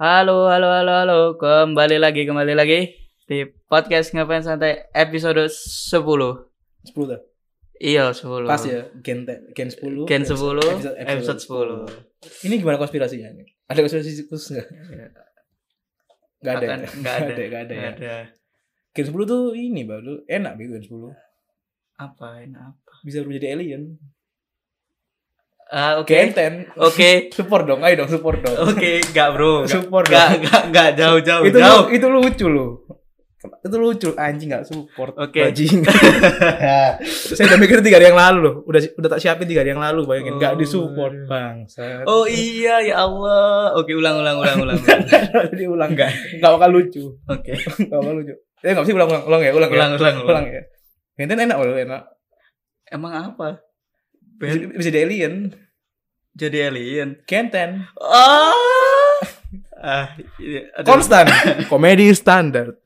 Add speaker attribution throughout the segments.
Speaker 1: Halo, halo, halo, halo. Kembali lagi, kembali lagi di podcast Ngapain Santai episode 10.
Speaker 2: 10 dah.
Speaker 1: Iya, 10.
Speaker 2: Pas ya gen te- gen 10.
Speaker 1: Gen 10, episode,
Speaker 2: episode- episode
Speaker 1: 10.
Speaker 2: Ini gimana konspirasinya nih? Ada konspirasi khusus enggak? Enggak ada.
Speaker 1: Akan- nggak ada.
Speaker 2: ya? Nggak ada, ya.
Speaker 1: Nggak ada.
Speaker 2: Gen 10 tuh ini baru enak bego gen 10.
Speaker 1: Apa ini apa?
Speaker 2: Bisa menjadi alien.
Speaker 1: Ah, oke.
Speaker 2: Gen 10.
Speaker 1: Oke.
Speaker 2: Support dong, ayo dong support dong.
Speaker 1: Oke, enggak, Bro. Enggak,
Speaker 2: Support
Speaker 1: enggak,
Speaker 2: dong.
Speaker 1: enggak, enggak jauh-jauh,
Speaker 2: itu
Speaker 1: jauh.
Speaker 2: lu- itu lucu loh. Itu lucu anjing enggak support.
Speaker 1: Oke.
Speaker 2: Bajingan. Saya udah mikir tiga hari yang lalu loh. Udah udah tak siapin tiga hari yang lalu bayangin
Speaker 1: Oh,
Speaker 2: enggak disupport,
Speaker 1: aduh.
Speaker 2: Bang. Saya-
Speaker 1: Oh iya, ya Allah. Oke, ulang ulang ulang ulang.
Speaker 2: diulang enggak. Enggak bakal lucu.
Speaker 1: Oke.
Speaker 2: Gak apa lucu. Eh gak sih ulang ulang ulang ya ulang
Speaker 1: Ulang
Speaker 2: ya.
Speaker 1: ulang ulang.
Speaker 2: ulang ya. Benten enak loh enak.
Speaker 1: Emang apa?
Speaker 2: Bisa,
Speaker 1: Ben-
Speaker 2: bisa di alien.
Speaker 1: Jadi alien.
Speaker 2: Kenten.
Speaker 1: Ah. Ah, iya, aduh.
Speaker 2: Konstan. Komedi standar.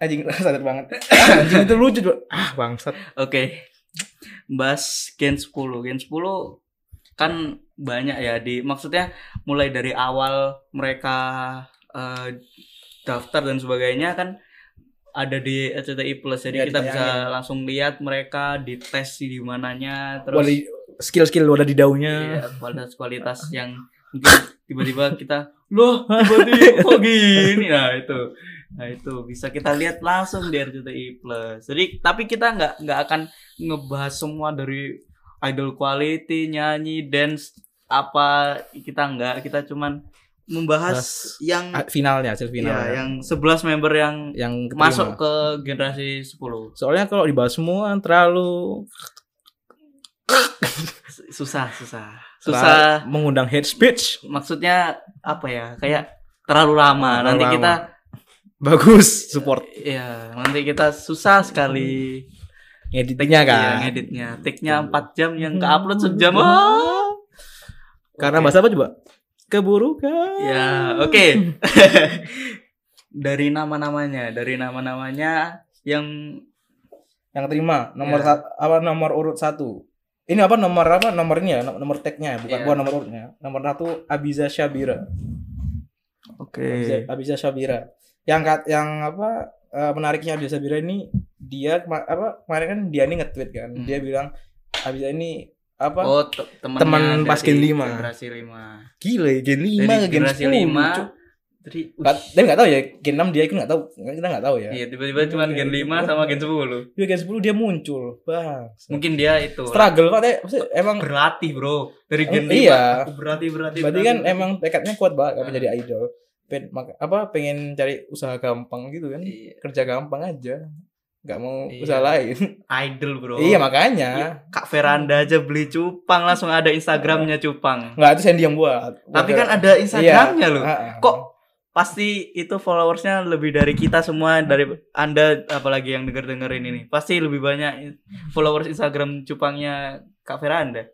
Speaker 2: Anjing standar banget. Ah, Anjing itu lucu juga. Ah bangsat.
Speaker 1: Oke. Bahas Gen 10. Gen 10 kan banyak ya di maksudnya mulai dari awal mereka eh, daftar dan sebagainya kan ada di RCTI Plus. Jadi
Speaker 2: Ya,
Speaker 1: kita bisa
Speaker 2: ditayangin.
Speaker 1: langsung lihat mereka di tes di mananya terus
Speaker 2: Wali skill-skill wadah di daunnya.
Speaker 1: iya, kualitas kualitas yang mungkin tiba-tiba kita loh tiba-tiba kok gini nah itu nah itu bisa kita lihat langsung di RCTI Plus jadi tapi kita nggak nggak akan ngebahas semua dari idol quality nyanyi dance apa kita nggak kita cuman membahas
Speaker 2: Bahas
Speaker 1: yang
Speaker 2: Ah, Finalnya hasil
Speaker 1: ya,
Speaker 2: finalnya.
Speaker 1: yang 11 member yang
Speaker 2: Iya, yang keterima.
Speaker 1: masuk ke generasi 10
Speaker 2: Soalnya kalau dibahas semua terlalu
Speaker 1: susah susah susah
Speaker 2: terlalu mengundang hate speech.
Speaker 1: maksudnya apa ya kayak terlalu lama
Speaker 2: Hmm. Terlalu
Speaker 1: nanti
Speaker 2: lama.
Speaker 1: kita
Speaker 2: Bagus support
Speaker 1: ya nanti kita susah sekali ya,
Speaker 2: editnya kan. Hmm.
Speaker 1: ngeditnya take-nya 4 jam yang ke-upload sejam Ah.
Speaker 2: Karena
Speaker 1: Oke.
Speaker 2: bahasa apa coba? Keburukan.
Speaker 1: ya oke dari nama-namanya dari nama-namanya yang
Speaker 2: yang terima nomor
Speaker 1: Ya.
Speaker 2: sat- apa nomor urut satu ini apa nomor apa nomornya nom- nomor tagnya ya, bukan
Speaker 1: Ya.
Speaker 2: bukan nomor urutnya nomor satu Abiza Syabira
Speaker 1: oke
Speaker 2: Abiza, Abiza Syabira yang kat- yang apa eh, menariknya Abiza Syabira ini dia kema- apa kemarin kan dia ini nge-tweet kan
Speaker 1: Hmm.
Speaker 2: dia bilang Abiza ini apa
Speaker 1: oh te- temannya
Speaker 2: Teman
Speaker 1: dari
Speaker 2: pas gen lima.
Speaker 1: generasi 5
Speaker 2: gila ya, gen
Speaker 1: dari
Speaker 2: lima ke gen
Speaker 1: generasi
Speaker 2: sepuluh
Speaker 1: 5 dari
Speaker 2: Nggak- tapi nggak tahu ya gen enam dia itu nggak tahu kita nggak tahu ya
Speaker 1: Iya, tiba-tiba cuman gen 5 sama gen 10.
Speaker 2: dia gen sepuluh dia muncul bang
Speaker 1: Mungkin dia itu
Speaker 2: struggle banget ya. Maksudnya emang
Speaker 1: berlatih, Bro. Dari gen 5
Speaker 2: iya
Speaker 1: aku berlatih berlatih
Speaker 2: Berarti
Speaker 1: berlatih,
Speaker 2: kan
Speaker 1: berlatih.
Speaker 2: emang tekadnya kuat banget
Speaker 1: Nah.
Speaker 2: apa jadi idol. Pen, maka- apa pengen cari usaha gampang gitu kan.
Speaker 1: Iya,
Speaker 2: Kerja gampang aja. nggak mau
Speaker 1: Iya.
Speaker 2: usaha lain.
Speaker 1: idol bro
Speaker 2: iya makanya.
Speaker 1: Iya, Kak Veranda aja beli cupang langsung ada Instagramnya cupang
Speaker 2: nggak itu Sandy yang buat.
Speaker 1: tapi kan ada
Speaker 2: Iya.
Speaker 1: Instagramnya loh Kok
Speaker 2: Kok
Speaker 1: pasti itu followersnya lebih dari kita semua dari anda apalagi yang denger dengerin ini pasti lebih banyak followers Instagram cupangnya Kak Veranda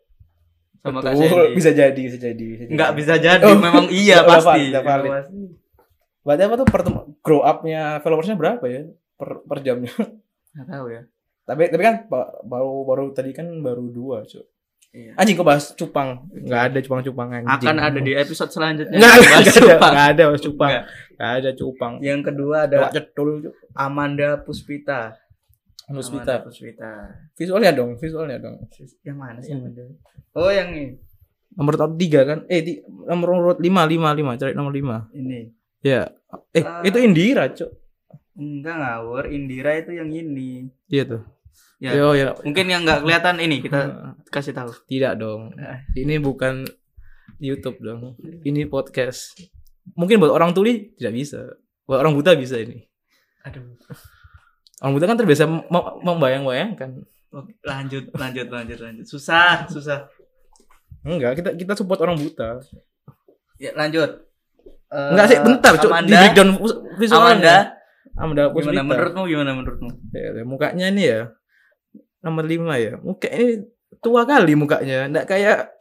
Speaker 1: sama Kak Sandy
Speaker 2: bisa jadi bisa jadi bisa jadi.
Speaker 1: nggak bisa jadi
Speaker 2: Oh.
Speaker 1: memang iya
Speaker 2: Udah
Speaker 1: pasti
Speaker 2: valid, udah valid.
Speaker 1: Pasti.
Speaker 2: Berarti apa tuh pertem- grow up-nya followersnya berapa ya per, per jamnya?
Speaker 1: nggak tahu ya
Speaker 2: tapi tapi kan ba- baru baru tadi kan baru dua cuy.
Speaker 1: Iya.
Speaker 2: Anjing kok bahas cupang. nggak ada cupang-cupang anjing.
Speaker 1: akan ada di episode selanjutnya
Speaker 2: Nggak ada,
Speaker 1: Bahas
Speaker 2: nggak ada,
Speaker 1: cupang.
Speaker 2: nggak ada bahas cupang.
Speaker 1: Nggak.
Speaker 2: nggak ada cupang.
Speaker 1: yang kedua
Speaker 2: Ada
Speaker 1: ada
Speaker 2: cetul cuy.
Speaker 1: Amanda Puspita
Speaker 2: Puspita.
Speaker 1: Amanda Puspita
Speaker 2: Visualnya dong, visualnya dong.
Speaker 1: Yang mana sih
Speaker 2: Yang
Speaker 1: yang ada? Oh yang ini.
Speaker 2: Nomor urut tiga kan? Eh, ti- nomor urut lima, lima, lima. Cari nomor lima.
Speaker 1: ini.
Speaker 2: Ya. Eh,
Speaker 1: Ah.
Speaker 2: itu Indira, cok.
Speaker 1: Enggak ngawur, Indira itu yang ini.
Speaker 2: Iya tuh.
Speaker 1: Ya.
Speaker 2: Yo, ya.
Speaker 1: Mungkin yang nggak kelihatan ini kita
Speaker 2: Ah,
Speaker 1: kasih tahu.
Speaker 2: Tidak dong.
Speaker 1: Ah.
Speaker 2: Ini bukan YouTube dong. Ini podcast. Mungkin buat orang tuli tidak bisa. Buat orang buta bisa ini.
Speaker 1: Aduh.
Speaker 2: Orang buta kan terbiasa mem- membayang-bayangkan.
Speaker 1: Oke, lanjut, lanjut, lanjut, lanjut. Susah, susah.
Speaker 2: Enggak, kita kita support orang buta.
Speaker 1: Ya, lanjut. Eh,
Speaker 2: Enggak sih, bentar, cok. Di
Speaker 1: Amanda,
Speaker 2: breakdown vis-
Speaker 1: Amanda,
Speaker 2: visualnya. Amanda,
Speaker 1: gimana
Speaker 2: Puspita.
Speaker 1: menurutmu? Gimana menurutmu?
Speaker 2: Ya, ya, mukanya ini ya nomor lima ya. Muka ini tua kali mukanya. Enggak kayak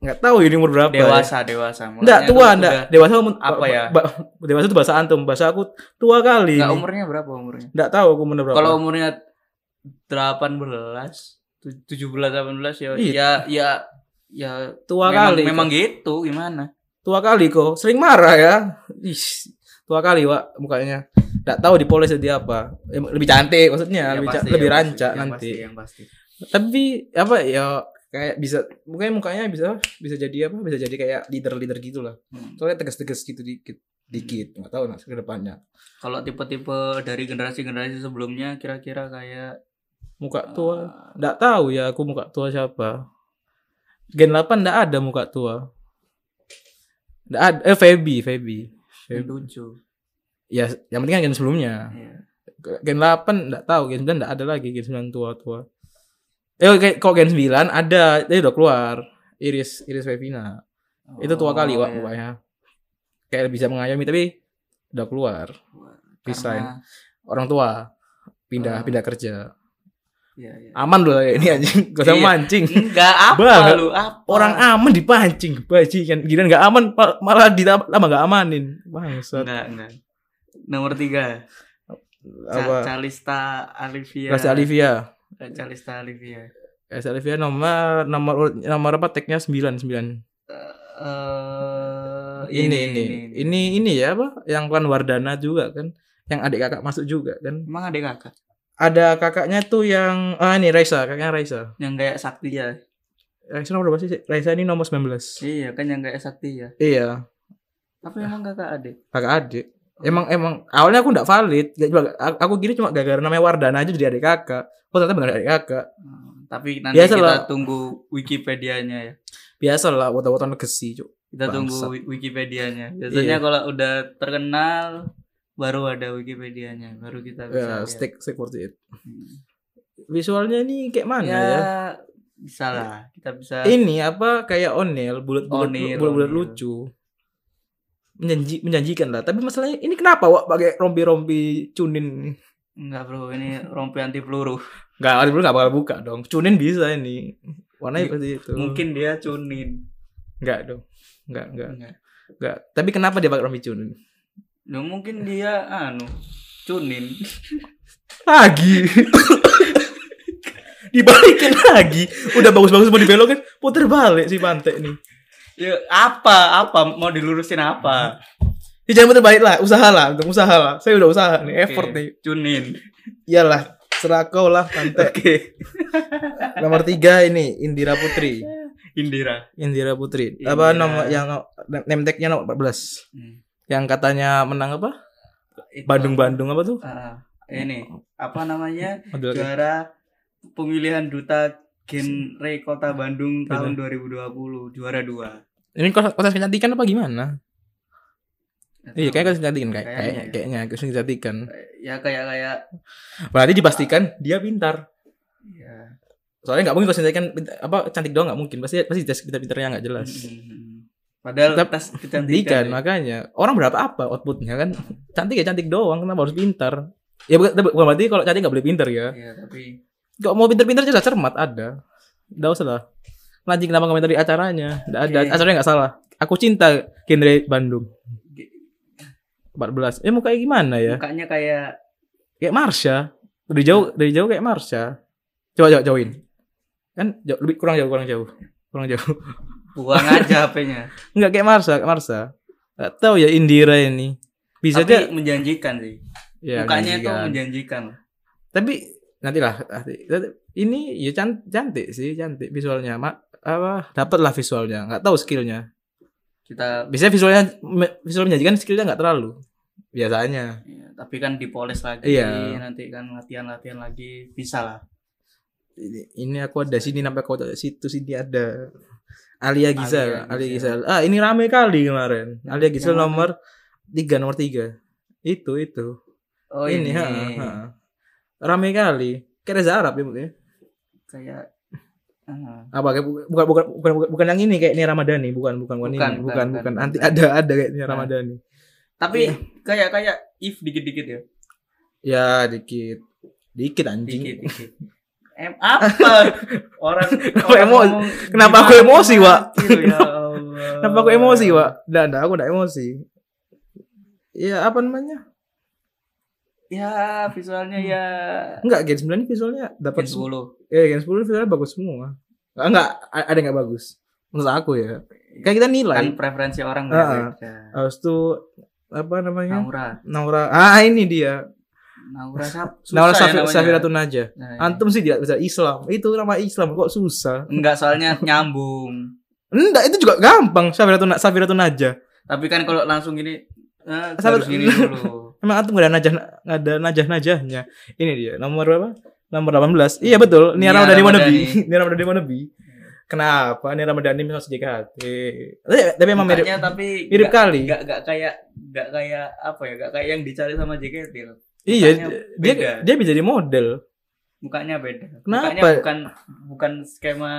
Speaker 2: nggak tahu ini umur berapa. Ya.
Speaker 1: Dewasa, dewasa. Mulanya
Speaker 2: Enggak tua,
Speaker 1: tuh
Speaker 2: enggak
Speaker 1: udah-
Speaker 2: dewasa umur-
Speaker 1: apa
Speaker 2: ba-
Speaker 1: ya?
Speaker 2: ba- dewasa itu bahasa antum, bahasa aku tua kali.
Speaker 1: Enggak
Speaker 2: ini.
Speaker 1: umurnya berapa umurnya?
Speaker 2: Enggak tahu aku umur berapa.
Speaker 1: Kalau umurnya 18, tu- 17 18 ya
Speaker 2: Iya.
Speaker 1: ya ya ya
Speaker 2: tua
Speaker 1: memang,
Speaker 2: kali.
Speaker 1: memang gitu gimana?
Speaker 2: tua kali kok sering marah ya Ih, tua kali pak mukanya nggak tahu dipoles jadi apa Eh, lebih cantik
Speaker 1: Ya,
Speaker 2: maksudnya lebih ca-
Speaker 1: pasti,
Speaker 2: lebih
Speaker 1: yang pasti,
Speaker 2: rancak
Speaker 1: yang
Speaker 2: nanti
Speaker 1: pasti, yang pasti.
Speaker 2: tapi apa ya kayak bisa mukanya mukanya bisa bisa jadi apa bisa jadi kayak gitu leader leader gitulah
Speaker 1: Hmm.
Speaker 2: soalnya tegas-tegas gitu dikit dikit nggak tahu nanti ke depannya
Speaker 1: Kalau tipe-tipe dari generasi-generasi sebelumnya kira-kira kayak eh,
Speaker 2: muka tua nggak tahu ya aku muka tua siapa gen 8 nggak ada muka tua nggak ada eh Feby Feby
Speaker 1: eh,
Speaker 2: Feby.
Speaker 1: lucu.
Speaker 2: ya yang penting kan gen sebelumnya
Speaker 1: Iya.
Speaker 2: gen 8 enggak tahu, gen 9 enggak ada lagi, gen 9 tua-tua. Eh kayak kok gen 9 ada, dia udah keluar. Iris Iris Vevina. Itu tua
Speaker 1: Oh,
Speaker 2: kali, Wak,
Speaker 1: iya.
Speaker 2: mukanya. Kayak bisa mengayomi tapi udah keluar. Resign.
Speaker 1: Karena-
Speaker 2: Orang tua pindah
Speaker 1: Oh.
Speaker 2: pindah kerja. ya.
Speaker 1: Iya, iya.
Speaker 2: Aman loh ini anjing, gak usah
Speaker 1: Iya.
Speaker 2: mancing.
Speaker 1: Enggak apa
Speaker 2: Bah,
Speaker 1: lu apa?
Speaker 2: Orang aman dipancing, bajingan. Gila nggak aman mal- malah ditambah tambah nggak amanin. Bangsat.
Speaker 1: enggak enggak. Nomor tiga Ca- iya.
Speaker 2: Apa?
Speaker 1: Calista Alivia.
Speaker 2: Kasih Olivia.
Speaker 1: Calista Alivia.
Speaker 2: Kasih Olivia nomor nomor urut- nomor apa tag-nya 9 9.
Speaker 1: eh
Speaker 2: ini ini ini ini ya apa yang klan Wardana juga kan yang adik kakak masuk juga kan
Speaker 1: Emang ada kakak
Speaker 2: ada kakaknya tuh yang ah ini Raisa kakaknya Raisa
Speaker 1: yang kayak Sakti ya?
Speaker 2: Raisa nomor berapa sih Raisa ini nomor 19
Speaker 1: Iya kan yang kayak Sakti ya.
Speaker 2: iya
Speaker 1: Tapi emang kakak adik.
Speaker 2: kakak adik
Speaker 1: Oh.
Speaker 2: emang emang awalnya aku nggak valid Nggak juga aku aku gini cuma gara-gara namanya Wardana aja jadi adik kakak oh ternyata benar adik kakak
Speaker 1: Hmm, Tapi nanti
Speaker 2: Biasa
Speaker 1: kita
Speaker 2: lah.
Speaker 1: tunggu Wikipedianya ya.
Speaker 2: biasa lah foto-foto negesi cuk
Speaker 1: Kita
Speaker 2: Bangsat.
Speaker 1: tunggu wi- Wikipedianya. Biasanya
Speaker 2: Iya.
Speaker 1: kalau udah terkenal baru ada Wikipedianya, baru kita bisa.
Speaker 2: ya
Speaker 1: lihat.
Speaker 2: stick stick seperti itu
Speaker 1: Hmm.
Speaker 2: visualnya ini kayak mana
Speaker 1: Ya,
Speaker 2: ya
Speaker 1: bisa lah. Kita bisa
Speaker 2: ini apa kayak onel bulat-bulat
Speaker 1: Onel,
Speaker 2: bulat-bulat
Speaker 1: Onel.
Speaker 2: lucu menjanji menjanjikan lah tapi masalahnya ini kenapa wak pakai rompi-rompi cunin
Speaker 1: Enggak, Bro. Ini rompi anti peluru.
Speaker 2: nggak ada nggak bakal buka dong cunin bisa ini
Speaker 1: Iya,
Speaker 2: warnanya seperti itu
Speaker 1: Mungkin dia cunin.
Speaker 2: nggak dong nggak nggak
Speaker 1: Enggak.
Speaker 2: nggak tapi kenapa dia pakai rompi cunin
Speaker 1: Ya mungkin dia anu cunin.
Speaker 2: lagi dibalikin lagi udah bagus-bagus mau dibelokin puter balik si pantai nih
Speaker 1: Ya apa apa mau dilurusin apa?
Speaker 2: Ya, jangan puter balik lah usaha lah untuk usaha lah saya udah usaha nih effort
Speaker 1: Oke,
Speaker 2: nih
Speaker 1: Cunin.
Speaker 2: iyalah serah kau lah pantai
Speaker 1: Oke.
Speaker 2: Nomor tiga ini Indira Putri.
Speaker 1: Indira.
Speaker 2: Indira Putri.
Speaker 1: Indira.
Speaker 2: Apa nomor yang name tag-nya nomor 14. Yang katanya menang apa?
Speaker 1: Itu-
Speaker 2: Bandung-Bandung apa tuh?
Speaker 1: Ah, ini apa namanya?
Speaker 2: Aduh,
Speaker 1: Juara pemilihan duta genre Kota Bandung
Speaker 2: Betul.
Speaker 1: tahun 2020 juara 2.
Speaker 2: Ini kos- kosan kecantikan apa gimana? Iya, kayaknya kosan kecantikan kayak
Speaker 1: Kayaknya
Speaker 2: kayaknya
Speaker 1: ya.
Speaker 2: kayaknya kosan kecantikan.
Speaker 1: ya kayak kayak
Speaker 2: Berarti dipastikan dia pintar.
Speaker 1: ya.
Speaker 2: Soalnya nggak mungkin kosan kecantikan pinta- apa cantik doang nggak mungkin. Pasti pasti tes pintar-pintarnya nggak
Speaker 1: Hmm,
Speaker 2: jelas.
Speaker 1: Mm-mm. Padahal
Speaker 2: Tetap kan,
Speaker 1: tes
Speaker 2: Cantikan
Speaker 1: kecantikan. ya.
Speaker 2: makanya. Orang berapa apa outputnya kan? Cantik ya cantik doang, kenapa harus pintar? Ya bukan, bukan berarti kalau cantik nggak boleh pintar ya.
Speaker 1: Ya, tapi
Speaker 2: Gak mau pinter-pinter aja lah, cermat ada. Gak usah lah. Lanjut kenapa komentar di acaranya? Gak ada.
Speaker 1: Oke.
Speaker 2: Acaranya gak salah. Aku cinta genre Bandung. 14. Eh mukanya gimana ya?
Speaker 1: mukanya kayak
Speaker 2: Kayak Marsha. Dari jauh dari jauh kayak Marsha. Coba coba jauhin. Kan jauh, lebih kurang jauh kurang jauh. Kurang jauh.
Speaker 1: buang aja HP-nya.
Speaker 2: Enggak kayak Marsha, kayak Marsha. Gak tahu ya Indira ini. Bisa
Speaker 1: Tapi
Speaker 2: aja
Speaker 1: menjanjikan sih.
Speaker 2: ya,
Speaker 1: mukanya itu
Speaker 2: menjanjikan.
Speaker 1: menjanjikan.
Speaker 2: tapi nantilah nanti- nanti- ini ya can- cantik sih cantik visualnya mak apa dapat lah visualnya nggak tahu skillnya
Speaker 1: Kita
Speaker 2: biasanya visualnya me- visual menjanjikan skillnya nggak terlalu biasanya
Speaker 1: ya, tapi kan dipoles lagi
Speaker 2: Iya.
Speaker 1: nanti kan latihan-latihan lagi bisa lah.
Speaker 2: ini, ini aku ada sini nampak kau ada situ sini ada Alia
Speaker 1: Alia
Speaker 2: Gisel Alia
Speaker 1: Gisel.
Speaker 2: Gisel ah ini rame kali kemarin Alia
Speaker 1: Yang
Speaker 2: Gisel
Speaker 1: mana?
Speaker 2: nomor tiga nomor tiga itu itu
Speaker 1: Oh ini,
Speaker 2: ini, ha, ha. rame kali kayak Reza Arab ya mungkin
Speaker 1: kayak ah,
Speaker 2: apa kayak bu- bukan bukan bukan bukan, bukan yang ini kayak Nia Ramadhani bukan bukan bukan ini
Speaker 1: Bukan,
Speaker 2: bukan
Speaker 1: bukan,
Speaker 2: bukan,
Speaker 1: bukan.
Speaker 2: nanti ada ada kayak
Speaker 1: Nah.
Speaker 2: Nia Ramadhani
Speaker 1: tapi
Speaker 2: Iya.
Speaker 1: kayak kayak if dikit-dikit ya.
Speaker 2: ya dikit dikit anjing
Speaker 1: Dikit-dikit. Em apa? Orang,
Speaker 2: Kenapa emo-
Speaker 1: ngomong
Speaker 2: kenapa aku
Speaker 1: gimana
Speaker 2: emosi, Wak?
Speaker 1: gitu, ya
Speaker 2: Kenapa-
Speaker 1: Allah.
Speaker 2: kenapa aku emosi pak enggak enggak aku enggak emosi ya apa namanya
Speaker 1: Ya, visualnya ya
Speaker 2: enggak Gen 9 ini visualnya dapat
Speaker 1: Gen 10.
Speaker 2: ya Gen 10 visualnya bagus semua enggak enggak a- ada yang enggak bagus menurut aku ya kayak kita
Speaker 1: kan
Speaker 2: nilai
Speaker 1: preferensi orang
Speaker 2: Heeh.
Speaker 1: beda-beda.
Speaker 2: harus tuh apa namanya
Speaker 1: Naura,
Speaker 2: Naura ah ini dia
Speaker 1: Naura Saf- susah
Speaker 2: Naura
Speaker 1: ya
Speaker 2: Safi-
Speaker 1: namanya.
Speaker 2: Safiratun Najah
Speaker 1: Nah, iya.
Speaker 2: antum sih tidak bisa Islam itu nama Islam kok susah
Speaker 1: Enggak soalnya nyambung.
Speaker 2: enggak itu juga gampang Safiratun Safiratun Najah
Speaker 1: Tapi kan kalau langsung gini eh,
Speaker 2: Sabar.
Speaker 1: harus gini dulu.
Speaker 2: emang antum gak ada najah gak ada najah najahnya ini dia nomor berapa nomor 18 iya betul Nia
Speaker 1: Nia
Speaker 2: Ramadhani wannabe
Speaker 1: Ramadhani.
Speaker 2: Nia Ramadhani wannabe kenapa Nia Ramadhani masuk JKT tapi, Eh, tapi emang mirip
Speaker 1: Mukanya tapi
Speaker 2: mirip
Speaker 1: nggak-
Speaker 2: kali
Speaker 1: nggak nggak kayak nggak kayak apa ya? Nggak kayak yang dicari sama JKT. loh.
Speaker 2: iya
Speaker 1: mukanya
Speaker 2: dia
Speaker 1: beda.
Speaker 2: dia bisa jadi model
Speaker 1: Mukanya beda.
Speaker 2: Kenapa?
Speaker 1: Mukanya bukan bukan skema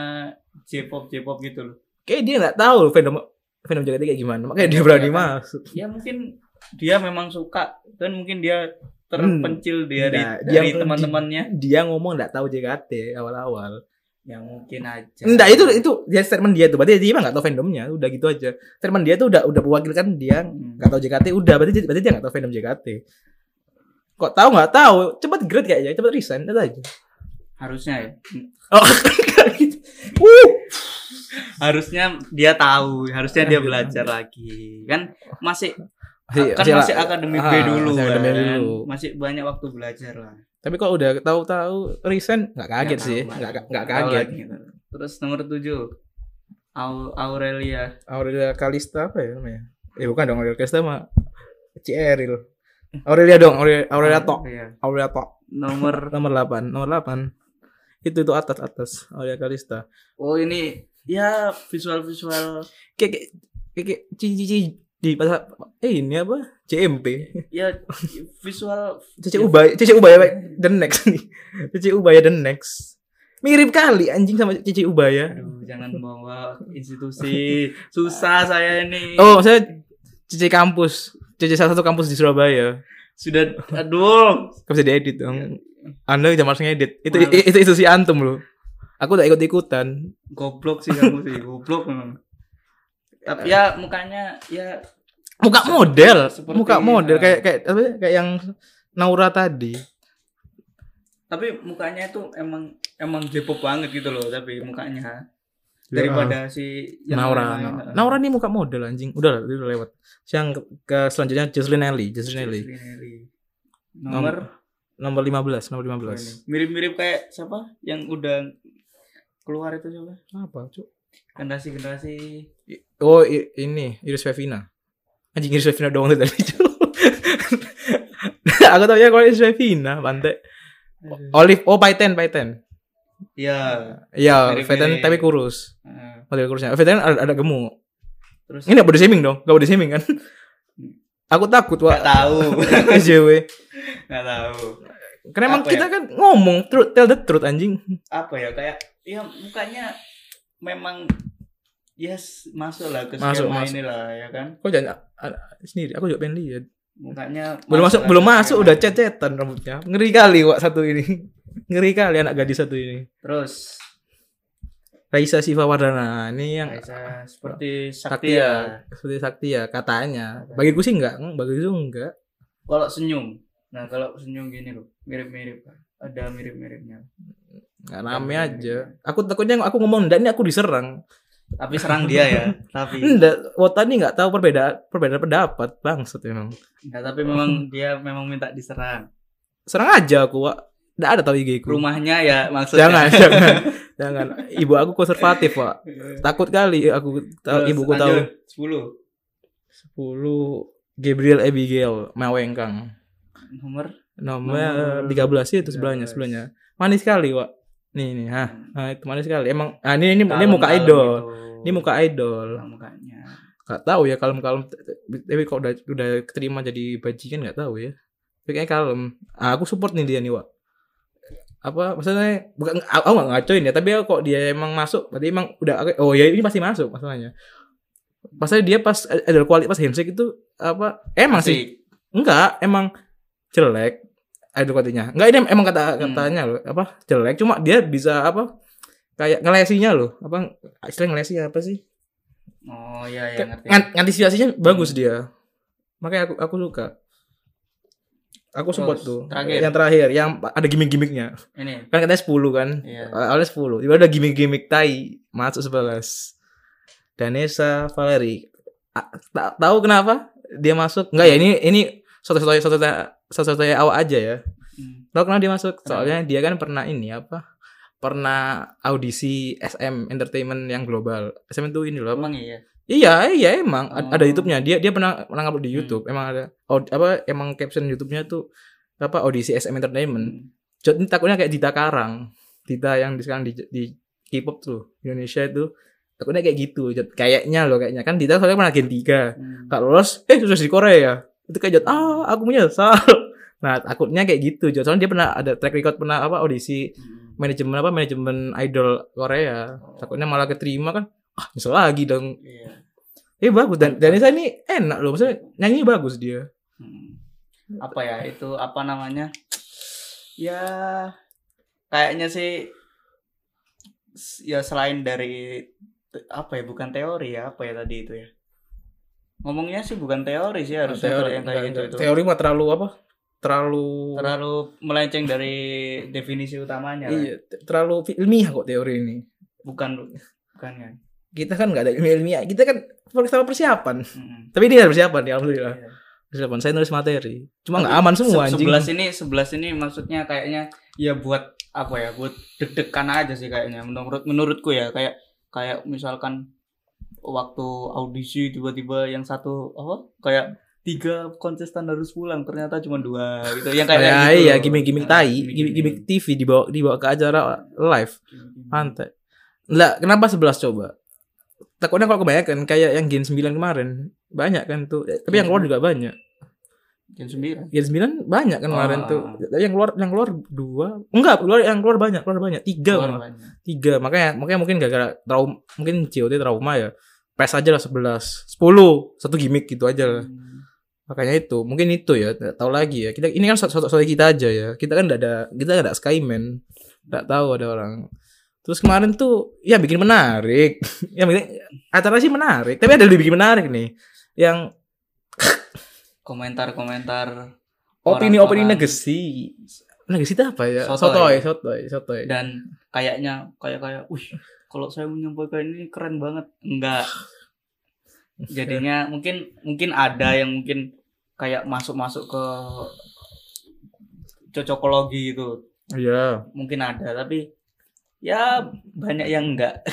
Speaker 1: J-pop J-pop gitu loh.
Speaker 2: kayak dia nggak tahu fandom fandom JKT kayak gimana makanya dia
Speaker 1: Iya
Speaker 2: berani
Speaker 1: kan?
Speaker 2: masuk
Speaker 1: Ya mungkin dia memang suka dan mungkin dia terpencil dari
Speaker 2: Nah, dia-
Speaker 1: dari teman-temannya
Speaker 2: dia ngomong nggak tahu JKT awal-awal
Speaker 1: yang mungkin aja
Speaker 2: Enggak itu itu dia statement dia tuh berarti dia emang nggak tahu fandomnya udah gitu aja statement dia tuh udah udah mewakilkan dia
Speaker 1: Hmm.
Speaker 2: nggak tahu JKT udah berarti berarti dia nggak tahu fandom JKT kok tahu nggak tahu cepet grade kayaknya cepet resign itu aja
Speaker 1: harusnya ya
Speaker 2: oh nggak gitu Wuh.
Speaker 1: harusnya dia tahu harusnya dia belajar lagi kan masih kan
Speaker 2: Iya,
Speaker 1: masih
Speaker 2: Masih- masih-
Speaker 1: akademi B
Speaker 2: ah,
Speaker 1: dulu
Speaker 2: masih
Speaker 1: kan
Speaker 2: akademi dulu.
Speaker 1: masih banyak waktu belajar lah
Speaker 2: tapi kalau udah tahu-tahu resign nggak kaget
Speaker 1: Nggak
Speaker 2: sih
Speaker 1: tahu,
Speaker 2: nggak
Speaker 1: Mbak.
Speaker 2: nggak
Speaker 1: Nggak tahu
Speaker 2: kaget
Speaker 1: lagi. terus nomor tujuh Au- Aurelia
Speaker 2: Aurelia Kalista apa ya namanya eh bukan dong Aurelia Kalista mah Cieril Aurelia dong Aurelia Aurelia Tok
Speaker 1: Iya.
Speaker 2: Aurelia Tok
Speaker 1: nomor
Speaker 2: nomor 8 nomor 8 itu itu atas atas Aurelia Kalista
Speaker 1: oh ini ya visual visual
Speaker 2: kayak kayak- kayak kayak cici cici di pasar eh ini apa CMP
Speaker 1: ya visual
Speaker 2: Cici Ubaya Cici Ubaya Pak. the next nih Cici Ubaya the next mirip kali anjing sama ya. Cici Ubaya
Speaker 1: Aduh, jangan bawa institusi susah saya ini
Speaker 2: oh saya Cici kampus Cici salah satu kampus di Surabaya
Speaker 1: sudah aduh
Speaker 2: Gak bisa diedit
Speaker 1: Iya.
Speaker 2: dong Anda jam harus ngedit itu,
Speaker 1: Males.
Speaker 2: itu itu si antum loh aku udah ikut ikutan
Speaker 1: goblok sih kamu sih goblok memang tapi ya mukanya ya
Speaker 2: muka model
Speaker 1: Seperti-
Speaker 2: muka model kayak kayak apa ya, kayak yang Naura tadi
Speaker 1: tapi mukanya itu emang emang J-pop banget gitu loh tapi mukanya
Speaker 2: Iya.
Speaker 1: daripada si yang eh.
Speaker 2: Ya. Naura,
Speaker 1: lain-lain.
Speaker 2: Naura. Naura nih muka model anjing. Udah lah, itu udah lewat. Yang ke, ke selanjutnya Jocelyn Nelly, Jocelyn Nelly.
Speaker 1: Jocelyn Nelly. nomor
Speaker 2: Nomor 15, nomor
Speaker 1: oh,
Speaker 2: 15.
Speaker 1: ini. mirip-mirip kayak siapa yang udah keluar itu siapa
Speaker 2: Apa, Cuk?
Speaker 1: generasi generasi
Speaker 2: I- Oh, i- ini Iris Fevina. Anjing Iris Fevina doang tuh tadi, Cuk. Aku tau ya kalau Iris Fevina, pantai. Olive, oh Paiten, Paiten.
Speaker 1: ya
Speaker 2: Iya,
Speaker 1: Mirip-mirip.
Speaker 2: Paiten tapi kurus.
Speaker 1: eh,
Speaker 2: Model kurusnya. Paiten ada, ada gemuk.
Speaker 1: terus
Speaker 2: Ini gak body shaming dong, gak body shaming kan? Aku takut,
Speaker 1: Hmm. nggak
Speaker 2: Wak.
Speaker 1: tahu
Speaker 2: SJW.
Speaker 1: nggak tahu
Speaker 2: Karena emang
Speaker 1: Apa
Speaker 2: kita kan ngomong truth, tell the truth anjing.
Speaker 1: apa ya kayak ya mukanya memang yes masuk lah ke
Speaker 2: Masuk,
Speaker 1: skema
Speaker 2: masuk.
Speaker 1: inilah ya kan
Speaker 2: Kok jangan a- a- sendiri? Aku juga pengen lihat.
Speaker 1: mukanya
Speaker 2: Belum masuk,
Speaker 1: lah
Speaker 2: belum
Speaker 1: ke
Speaker 2: masuk
Speaker 1: skema.
Speaker 2: udah cecetan rambutnya. Ngeri kali wak satu ini. Ngeri kali anak gadis satu ini.
Speaker 1: terus
Speaker 2: Raisa Siva Wardana ini yang ah,
Speaker 1: Raisa seperti ya.
Speaker 2: Saktia.
Speaker 1: Saktia
Speaker 2: seperti sakti ya katanya. Bagiku sih enggak, Hmm, bagiku enggak.
Speaker 1: kalau senyum nah kalau senyum gini loh mirip-mirip ada mirip-miripnya
Speaker 2: Enggak rame aja. Aku takutnya aku ngomong enggak ini aku diserang.
Speaker 1: tapi serang dia ya tapi
Speaker 2: Enggak, Wota ini enggak tahu perbedaan perbedaan pendapat bangsat memang.
Speaker 1: nah, tapi memang dia memang minta diserang
Speaker 2: Serang aja aku wak. Enggak ada tahu IG ku.
Speaker 1: rumahnya ya maksudnya
Speaker 2: Jangan, jangan. jangan. Ibu aku konservatif, Pak. Takut kali aku tahu
Speaker 1: Terus
Speaker 2: ibuku tahu.
Speaker 1: lanjut, 10
Speaker 2: 10 Gabriel Abigail Mawengkang.
Speaker 1: nomor
Speaker 2: Nomor
Speaker 1: Nomor
Speaker 2: 13 sih itu
Speaker 1: 13.
Speaker 2: sebelahnya sebelahnya. Manis sekali, Wak. Nih nih, ah. Nah, itu manis sekali. Emang ah, ini ini, ini
Speaker 1: Kalem-kalem
Speaker 2: muka idol.
Speaker 1: gitu. Nah,
Speaker 2: Ini muka idol.
Speaker 1: mukanya
Speaker 2: Gak tahu ya kalem-kalem tapi kok udah udah keterima jadi bajikan gak tahu ya. Tapi kayaknya kalem. Ah, aku support nih dia nih, Wak. Apa maksudnya bukan aku gak ngacoin ya, tapi kok dia emang masuk, berarti emang udah oh ya ini pasti masuk masalahnya. Pasalnya dia pas ada kualitas handshake itu apa emang sih
Speaker 1: Asik.
Speaker 2: Enggak, emang jelek idol katanya. Enggak ini emang
Speaker 1: Hmm.
Speaker 2: kata katanya loh, apa jelek cuma dia bisa apa kayak ngelesinya loh, apa istilah ngelesi apa sih?
Speaker 1: Oh iya iya
Speaker 2: Kan-
Speaker 1: ngerti.
Speaker 2: ngan- Antisipasinya bagus dia. Makanya aku aku suka. Aku support
Speaker 1: Terus,
Speaker 2: tuh.
Speaker 1: terakhir.
Speaker 2: Yang terakhir yang ada gimmick-gimmicknya.
Speaker 1: Ini
Speaker 2: Kan katanya 10 kan.
Speaker 1: Iya.
Speaker 2: Awalnya 10. Tiba ada gimmick-gimmick tai masuk 11. Danesa Valeri A- ta- tahu kenapa dia masuk enggak ya ini ini satu satu satu satu awal aja ya
Speaker 1: Hmm.
Speaker 2: tahu kenapa dia masuk soalnya dia kan pernah ini apa pernah audisi SM Entertainment yang global SM itu ini loh apa?
Speaker 1: Emang iya.
Speaker 2: Iya, iya emang A- ada
Speaker 1: Oh.
Speaker 2: YouTube-nya. Dia dia pernah pernah upload di YouTube. Emang ada aud- apa emang caption YouTube-nya tuh apa audisi SM Entertainment.
Speaker 1: Hmm.
Speaker 2: Jadi takutnya kayak Dita Karang. Dita yang di- sekarang di, di K-pop tuh Indonesia itu takutnya kayak gitu. Jod. Kayaknya loh kayaknya kan Dita soalnya pernah gen 3.
Speaker 1: Hmm.
Speaker 2: Gak lolos, eh sukses di Korea. Itu kayak Jod, ah aku menyesal. Nah, takutnya kayak gitu. Jod. Soalnya dia pernah ada track record pernah apa audisi
Speaker 1: Hmm.
Speaker 2: manajemen apa manajemen idol Korea. Takutnya malah keterima kan. Ah, nyesel lagi
Speaker 1: Oh,
Speaker 2: dong.
Speaker 1: Iya.
Speaker 2: Eh bagus dan Danisa ini enak loh, maksudnya nyanyi bagus dia.
Speaker 1: Hmm. Apa ya itu apa namanya? Ya kayaknya sih s- ya selain dari te- apa ya bukan teori ya apa ya tadi itu ya ngomongnya sih bukan teori sih harusnya kalau yang kayak gitu itu
Speaker 2: teori mah terlalu apa? Terlalu,
Speaker 1: terlalu melenceng dari definisi utamanya lah.
Speaker 2: iya, te- terlalu ilmiah kok teori ini.
Speaker 1: bukan bukan kan
Speaker 2: Kita kan nggak ada ilmiah-ilmiah, kita kan pertama persiapan.
Speaker 1: Mm-mm.
Speaker 2: Tapi ini ada persiapan ya alhamdulillah.
Speaker 1: Iya.
Speaker 2: Persiapan saya nulis materi. Cuma
Speaker 1: Tapi
Speaker 2: nggak aman semua
Speaker 1: Se-
Speaker 2: anjing.
Speaker 1: Sebelas ini sebelas ini maksudnya kayaknya ya buat apa ya buat deg-degan aja sih kayaknya menurut menurutku ya kayak kayak misalkan waktu audisi tiba-tiba yang satu apa kayak tiga kontestan harus pulang ternyata cuma dua gitu yang kayak
Speaker 2: ya,
Speaker 1: gitu
Speaker 2: iya,
Speaker 1: loh.
Speaker 2: gimmick-gimmick
Speaker 1: Nah,
Speaker 2: tai,
Speaker 1: gimmick-gimmick.
Speaker 2: gimmick-gimmick TV dibawa dibawa ke acara live.
Speaker 1: Gimmick-gimmick.
Speaker 2: Pantai. Lah, kenapa 11 coba? Takutnya kalau kebanyakan kayak yang Gen 9 kemarin, banyak kan tuh. Eh, Tapi yang keluar juga banyak.
Speaker 1: Jam sembilan
Speaker 2: Gen 9 banyak kan kemarin
Speaker 1: Ah.
Speaker 2: tuh. Tapi yang keluar yang keluar dua, enggak, keluar yang keluar banyak, keluar banyak. Tiga kan.
Speaker 1: Keluar
Speaker 2: malah.
Speaker 1: banyak.
Speaker 2: Tiga. Makanya makanya mungkin gara-gara trauma, mungkin COT trauma ya. Pes aja lah 11, 10, satu gimmick gitu aja lah.
Speaker 1: Hmm.
Speaker 2: Makanya itu, mungkin itu ya, nggak tahu lagi ya. Kita ini kan satu satu kita aja ya. Kita kan enggak ada kita nggak ada Skyman. Enggak tahu ada orang. Terus kemarin tuh ya bikin menarik. ya bikin acara sih menarik, tapi ada yang lebih bikin menarik nih. Yang
Speaker 1: komentar-komentar
Speaker 2: opini-opini
Speaker 1: orang-orang.
Speaker 2: negasi. Negasi itu apa ya?
Speaker 1: Sotoy.
Speaker 2: Sotoy, sotoy, sotoy.
Speaker 1: dan kayaknya kayak kayak wih kalau saya menyampaikan ini keren banget enggak jadinya mungkin mungkin ada yang mungkin kayak masuk-masuk ke cocokologi itu
Speaker 2: Iya.
Speaker 1: mungkin ada tapi ya banyak yang enggak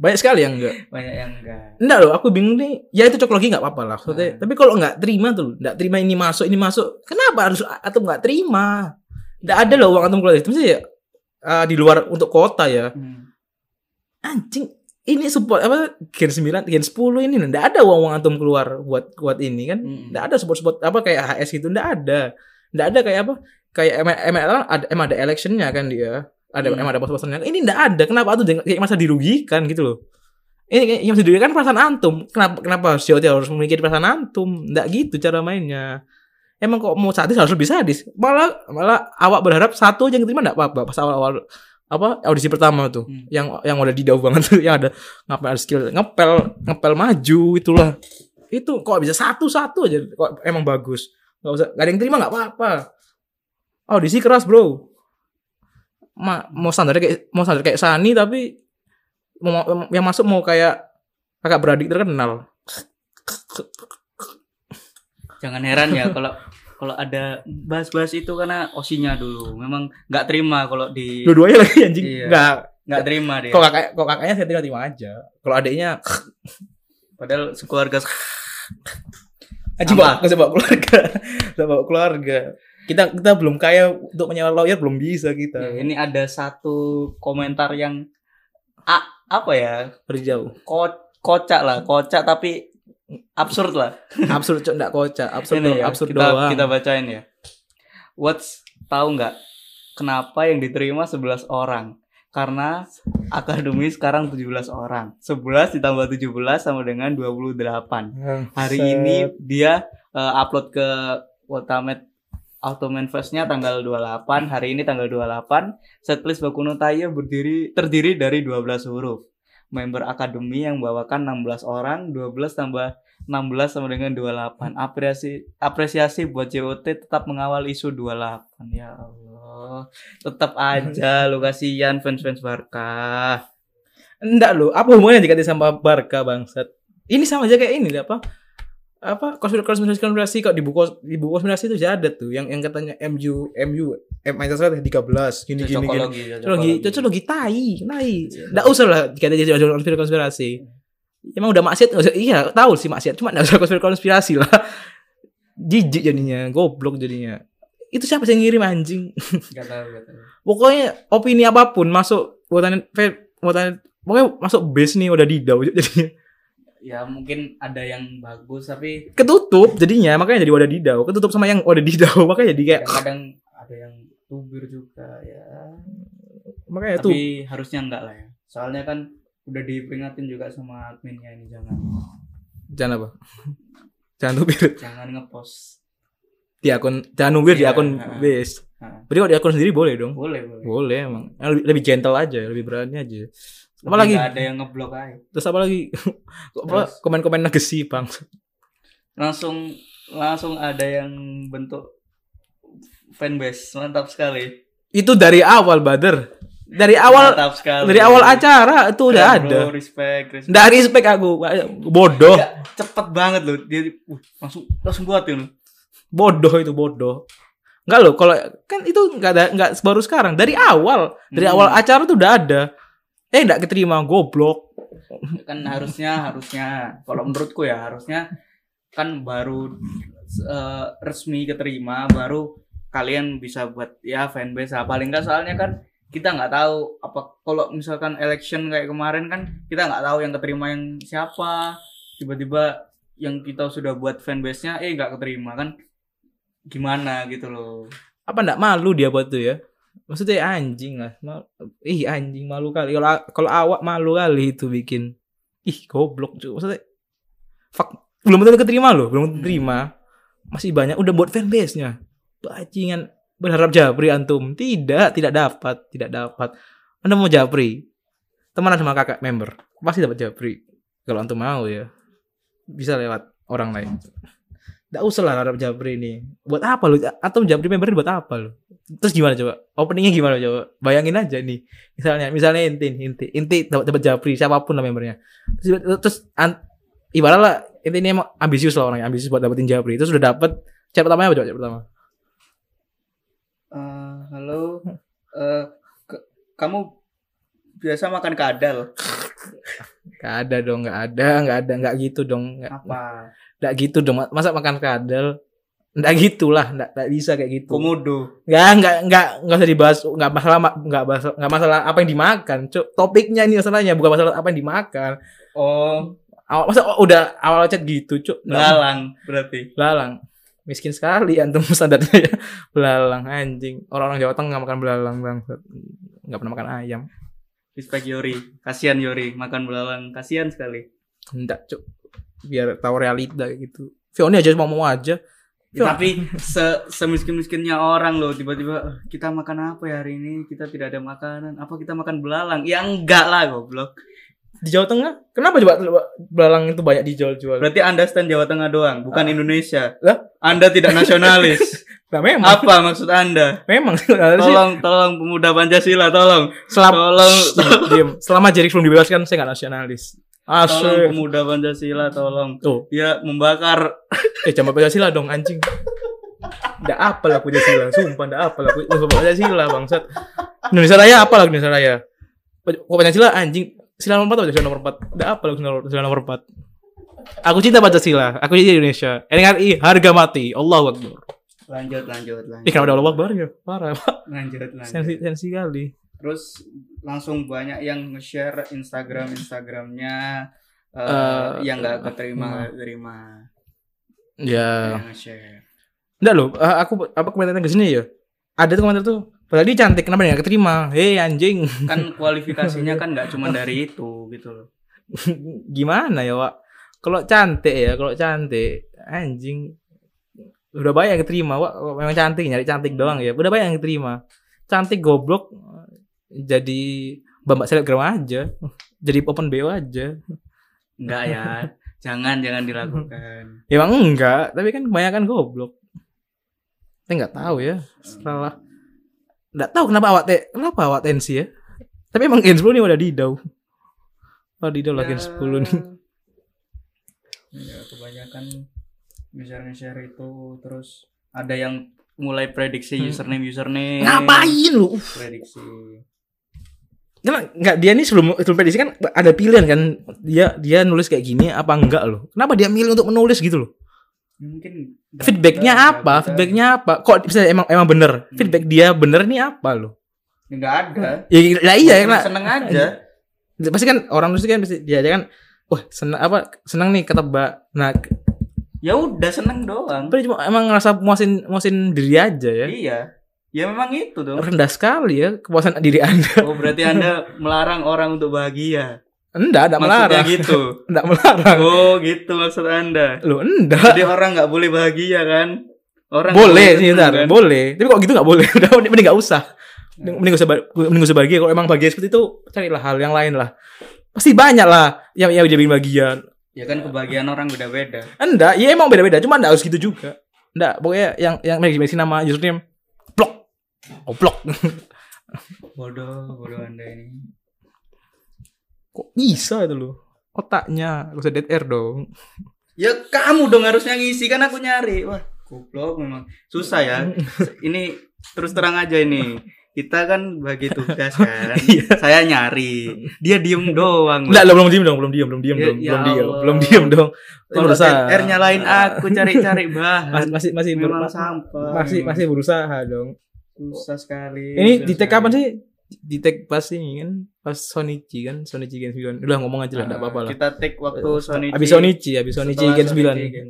Speaker 2: Banyak sekali yang enggak.
Speaker 1: banyak yang enggak
Speaker 2: Enggak loh, aku bingung nih. Ya itu cocok lagi enggak apa-apa lah. Maksudnya,
Speaker 1: Ah.
Speaker 2: tapi kalau enggak terima tuh, enggak terima ini masuk, ini masuk. Kenapa harus atom enggak terima? Enggak ada loh uang atom keluar dari sistem sih ya. eh, di luar untuk kota ya.
Speaker 1: Hmm.
Speaker 2: Anjing, ini support apa gen 9, gen 10 ini enggak ada uang uang atom keluar buat buat ini kan.
Speaker 1: Mm-mm.
Speaker 2: Nggak ada support-support apa kayak HS gitu nggak ada. Nggak ada kayak apa? Kayak ML ML ada emang ada electionnya kan dia. Ada
Speaker 1: Hmm.
Speaker 2: emang ada pos-posannya. Ini nggak ada. Kenapa tuh kayak masa dirugikan gitu loh. Ini kayak yang dirugikan kan perasaan antum. Kenapa kenapa COT harus memiliki perasaan antum? Nggak gitu cara mainnya. Emang kok mau sadis harus lebih sadis. Malah malah awak berharap satu aja yang terima nggak apa-apa pas awal-awal apa audisi pertama tuh
Speaker 1: Hmm.
Speaker 2: yang yang udah didau banget tuh yang ada ngapel skill ngepel ngepel maju itulah itu kok bisa satu-satu aja kok emang bagus nggak usah gak ada yang terima nggak apa-apa audisi keras bro Ma, mau standar kayak mau standar kayak Sani tapi mau, yang masuk mau kayak kakak beradik terkenal
Speaker 1: jangan heran ya kalau kalau ada bahas-bahas itu karena osinya dulu memang nggak terima kalau di
Speaker 2: dua-duanya lagi anjing
Speaker 1: Iya.
Speaker 2: nggak
Speaker 1: nggak terima dia
Speaker 2: kok kakak kok kakaknya saya terima terima aja kalau adiknya
Speaker 1: padahal sekeluarga
Speaker 2: anjing
Speaker 1: Sama.
Speaker 2: bawa bawa keluarga Saya bawa keluarga kita kita belum kaya untuk menyewa lawyer belum bisa kita
Speaker 1: Ya, ini ada satu komentar yang a, apa ya?
Speaker 2: dari jauh
Speaker 1: Ko, kocak lah, kocak tapi absurd lah.
Speaker 2: absurd cok nggak kocak absurd
Speaker 1: Ini
Speaker 2: doang,
Speaker 1: ya,
Speaker 2: absurd
Speaker 1: kita,
Speaker 2: doang
Speaker 1: kita bacain ya. What's tahu nggak kenapa yang diterima 11 orang? Karena akademi sekarang 17 orang. 11 ditambah 17 sama dengan 28. Hari ini dia eh, upload ke Watamet Ottoman Fest-nya tanggal 28. Hari ini tanggal 28, setlist Bakuno Taiya berdiri terdiri dari 12 huruf. Member akademi yang membawakan 16 orang, 12 tambah 16 sama dengan 28. Apresiasi apresiasi buat JOT tetap mengawal isu 28. Ya Allah. Tetap aja lu kasihan fans-fans Barca.
Speaker 2: Enggak loh, apa hubungannya JKT sama Barca bangsat? Ini sama aja kayak ini apa? Apa konspirasi konspirasi, konspirasi kok di buku di buku konspirasi itu jadi ada tuh yang yang katanya MU MU M Manchester United 13 gini gini gini.
Speaker 1: Cocokologi,
Speaker 2: Cocokologi,
Speaker 1: gitu.
Speaker 2: cocokologi tai, tai. Enggak usah lah JKT jadi konspirasi konspirasi. Emang udah maksiat, nggak usah- iya tahu sih maksiat, cuma enggak usah konspirasi konspirasi lah. Jijik jadinya, goblok jadinya. Itu siapa sih yang ngirim anjing?
Speaker 1: Gak tahu, gak tahu.
Speaker 2: pokoknya opini apapun masuk buatan fe- buatan pokoknya masuk base nih udah didau jadinya
Speaker 1: Ya mungkin ada yang bagus tapi
Speaker 2: ketutup jadinya makanya jadi wadah didau ketutup sama yang wadah didau makanya jadi kayak
Speaker 1: kadang ada yang tubir juga ya.
Speaker 2: makanya tuh
Speaker 1: tapi harusnya enggak lah ya. Soalnya kan udah diperingatin juga sama adminnya ini jangan
Speaker 2: jangan apa jangan nubir
Speaker 1: jangan ngepost.
Speaker 2: di akun jangan nubir di
Speaker 1: Iya,
Speaker 2: akun
Speaker 1: heeh.
Speaker 2: base
Speaker 1: Heeh.
Speaker 2: berarti kalau di akun sendiri boleh dong
Speaker 1: Boleh, boleh.
Speaker 2: boleh emang Eh, lebih, lebih gentle aja lebih berani aja apa lagi
Speaker 1: Nggak ada yang ngeblok aja.
Speaker 2: terus apa lagi Kok apa,
Speaker 1: Terus.
Speaker 2: komen-komen negesi bang
Speaker 1: Langsung langsung ada yang bentuk fanbase. Mantap sekali.
Speaker 2: itu dari awal bader dari awal
Speaker 1: Mantap sekali.
Speaker 2: dari awal acara itu udah
Speaker 1: Keren,
Speaker 2: ada
Speaker 1: Iya, bro. respect, respect.
Speaker 2: Nggak respect aku bodoh
Speaker 1: Iya, cepet banget loh. Dia uh, langsung langsung buatin loh.
Speaker 2: bodoh itu bodoh Enggak loh kalau kan itu nggak ada nggak baru sekarang dari awal dari
Speaker 1: Hmm.
Speaker 2: awal acara tuh udah ada eh nggak keterima goblok
Speaker 1: kan harusnya harusnya kalau menurutku ya harusnya kan baru eh, resmi keterima baru kalian bisa buat ya fanbase lah. paling enggak soalnya kan kita nggak tahu apa kalau misalkan election kayak kemarin kan kita nggak tahu yang keterima yang siapa tiba-tiba yang kita sudah buat fanbase-nya eh nggak keterima kan gimana gitu loh
Speaker 2: apa nggak malu dia buat tuh ya maksudnya anjing lah Mal- ih anjing malu kali kalau kalau awak malu kali itu bikin ih goblok cuy maksudnya fuck belum tentu keterima loh belum keterima masih banyak udah buat fanbase nya bajingan berharap Japri antum tidak tidak dapat tidak dapat anda mau Japri teman sama kakak member pasti dapat Japri kalau antum mau ya bisa lewat orang lain Nggak usah lah harap Japri ini buat apa lu atau Japri member ini buat apa lu terus gimana coba openingnya gimana coba bayangin aja nih misalnya misalnya inti inti inti dapat dapat Japri siapapun lah membernya terus, terus an- ibarat lah inti ini emang ambisius lah orangnya ambisius buat dapetin Japri terus sudah dapet chat pertamanya apa coba chat pertama
Speaker 1: Eh, halo Eh, ke- kamu biasa makan kadal
Speaker 2: Gak ada dong, gak ada, gak ada, gak gitu dong, gak,
Speaker 1: apa
Speaker 2: gak gitu dong. Masa makan kadal? Gak gitulah, gak, gak bisa kayak gitu.
Speaker 1: komodo
Speaker 2: Gak, gak, gak, gak usah dibahas, gak masalah, ma- gak masalah, gak masalah apa yang dimakan. Cuk, topiknya ini masalahnya, bukan masalah apa yang dimakan.
Speaker 1: Oh,
Speaker 2: Awal, masa oh, udah awal chat gitu, cuk. Nggak-
Speaker 1: belalang berarti.
Speaker 2: Belalang. Miskin sekali antum standarnya ya. Belalang anjing. Orang-orang Jawa Tengah makan belalang bang. Gak pernah makan ayam.
Speaker 1: Respect Yori. Kasihan Yori makan belalang, kasihan sekali.
Speaker 2: Enggak, cuk. Biar tahu realita gitu. Fiona aja mau mau aja.
Speaker 1: Ya,
Speaker 2: Cuk.
Speaker 1: tapi se semiskin-miskinnya orang loh tiba-tiba "Eh, kita makan apa ya hari ini? Kita tidak ada makanan. Apa kita makan belalang? Ya enggak lah goblok.
Speaker 2: di Jawa Tengah kenapa coba belalang itu banyak dijual-jual
Speaker 1: Berarti Anda stand Jawa Tengah doang, bukan Indonesia.
Speaker 2: Ah. Lah?
Speaker 1: Anda tidak nasionalis.
Speaker 2: nah memang
Speaker 1: apa maksud Anda?
Speaker 2: memang Nah, Harusnya
Speaker 1: Tolong tolong pemuda Pancasila, tolong.
Speaker 2: selama
Speaker 1: Tolong
Speaker 2: Diam. selama Jerik belum dibebaskan saya nggak nasionalis
Speaker 1: tolong
Speaker 2: asli
Speaker 1: pemuda Pancasila, tolong.
Speaker 2: tuh
Speaker 1: Dia membakar
Speaker 2: eh jangan Pancasila dong anjing Nggak apa lah Pancasila sumpah nggak apa lah Pancasila bangsat Indonesia Raya apa lah Indonesia Raya Pan- kok Pancasila anjing sila nomor 4 atau sila nomor 4 nggak apa lah sila nomor 4 aku cinta Pancasila aku cinta Indonesia NKRI harga mati Allahu Akbar
Speaker 1: lanjut lanjut lanjut.
Speaker 2: Ih kenapa udah Allah Akbar ya parah
Speaker 1: Lanjut lanjut.
Speaker 2: sensi sensi kali
Speaker 1: terus langsung banyak yang nge-share Instagram Instagramnya eh,
Speaker 2: Eh,
Speaker 1: yang nggak
Speaker 2: eh,
Speaker 1: keterima
Speaker 2: eh.
Speaker 1: nggak terima
Speaker 2: Ya.
Speaker 1: yang nge-share
Speaker 2: Enggak loh, eh, aku apa komentarnya ke sini ya? Ada tuh komentar tuh. Berarti cantik kenapa dia nggak keterima? Hei anjing.
Speaker 1: kan kualifikasinya kan nggak cuma dari itu gitu loh
Speaker 2: Gimana ya, Wak? Kalau cantik ya, kalau cantik anjing udah banyak yang keterima, Wak. Kalau Memang cantik nyari cantik doang ya. Udah banyak yang keterima. Cantik goblok jadi bambak selebgram aja. Jadi open BO aja.
Speaker 1: nggak ya jangan jangan dilakukan
Speaker 2: Ya emang enggak, tapi kan kebanyakan goblok. Saya nggak tahu ya. Salah. Nggak tahu kenapa awak teh, kenapa awak tensi ya. Tapi emang Gens Blue ini udah didau. Wadidaw
Speaker 1: Ya.
Speaker 2: lagi 10 nih.
Speaker 1: Ya, kebanyakan nge-share-nge-share itu terus ada yang mulai prediksi
Speaker 2: Hmm.
Speaker 1: username username
Speaker 2: Ngapain lu? Uf.
Speaker 1: prediksi
Speaker 2: Kenapa enggak dia nih sebelum sebelum prediksi kan ada pilihan kan dia dia nulis kayak gini apa enggak loh. Kenapa dia milih untuk menulis gitu loh?
Speaker 1: Ya, mungkin nggak
Speaker 2: Feedbacknya
Speaker 1: ada,
Speaker 2: apa?
Speaker 1: nggak ada.
Speaker 2: Feedbacknya apa? Kok bisa emang emang bener? Feedback dia bener nih apa loh?
Speaker 1: Ya, nggak ada
Speaker 2: Ya, lah iya
Speaker 1: Cuma
Speaker 2: kan
Speaker 1: seneng aja
Speaker 2: pasti kan orang nulis kan pasti dia dia kan wah seneng apa seneng nih ketebak. Nah,
Speaker 1: ya udah seneng doang
Speaker 2: tapi cuma emang ngerasa muasin muasin diri aja ya.
Speaker 1: iya ya memang itu dong
Speaker 2: Rendah sekali ya kepuasan diri Anda.
Speaker 1: oh berarti anda melarang orang untuk bahagia
Speaker 2: Enggak, enggak
Speaker 1: maksudnya
Speaker 2: melarang.
Speaker 1: gitu
Speaker 2: Enggak melarang.
Speaker 1: oh gitu maksud anda
Speaker 2: Loh, enggak.
Speaker 1: jadi orang nggak boleh bahagia kan orang nggak
Speaker 2: boleh sih
Speaker 1: seneng,
Speaker 2: ntar,
Speaker 1: kan? Ya.
Speaker 2: boleh. Tapi kok gitu nggak boleh. Udah mending nggak usah. Mending mending nggak usah ba- mending nggak usah bahagia. Kalau emang bahagia seperti itu, carilah hal yang lain lah. Pasti banyak lah yang yang jadi bahagia.
Speaker 1: ya kan kebahagiaan orang beda-beda
Speaker 2: Enggak, ya emang beda-beda. Cuma enggak harus gitu juga. Enggak, pokoknya yang yang mereka nama username blok. Oh, blok.
Speaker 1: bodoh bodoh anda ini
Speaker 2: Kok bisa itu loh? Otaknya gak usah dead air dong.
Speaker 1: Ya kamu dong harusnya ngisi kan aku nyari. Wah, goblok memang. Susah ya. Ini terus terang aja ini. Kita kan bagi tugas kan.
Speaker 2: Iya.
Speaker 1: Saya nyari. Dia diem doang.
Speaker 2: Enggak, lo belum diem dong, belum diem, belum diem
Speaker 1: Ya,
Speaker 2: dong,
Speaker 1: ya
Speaker 2: belum diem,
Speaker 1: Allah.
Speaker 2: belum diem dong.
Speaker 1: Kalau R nyalain aku cari-cari
Speaker 2: Iya. masih
Speaker 1: bahan.
Speaker 2: masih masih
Speaker 1: Memang
Speaker 2: berusaha.
Speaker 1: sampah.
Speaker 2: masih
Speaker 1: memang.
Speaker 2: masih berusaha dong.
Speaker 1: susah sekali.
Speaker 2: Ini
Speaker 1: susah
Speaker 2: di tag
Speaker 1: sekali.
Speaker 2: kapan sih? Di tag pas ini kan pas Sonichi kan, Sonichi Gen 9. Udah ngomong aja lah, enggak
Speaker 1: Nah,
Speaker 2: apa-apa lah.
Speaker 1: Kita tag waktu
Speaker 2: Eh,
Speaker 1: Sonichi.
Speaker 2: Habis Sonichi, habis
Speaker 1: setelah
Speaker 2: Sonichi Gen 9.
Speaker 1: Gen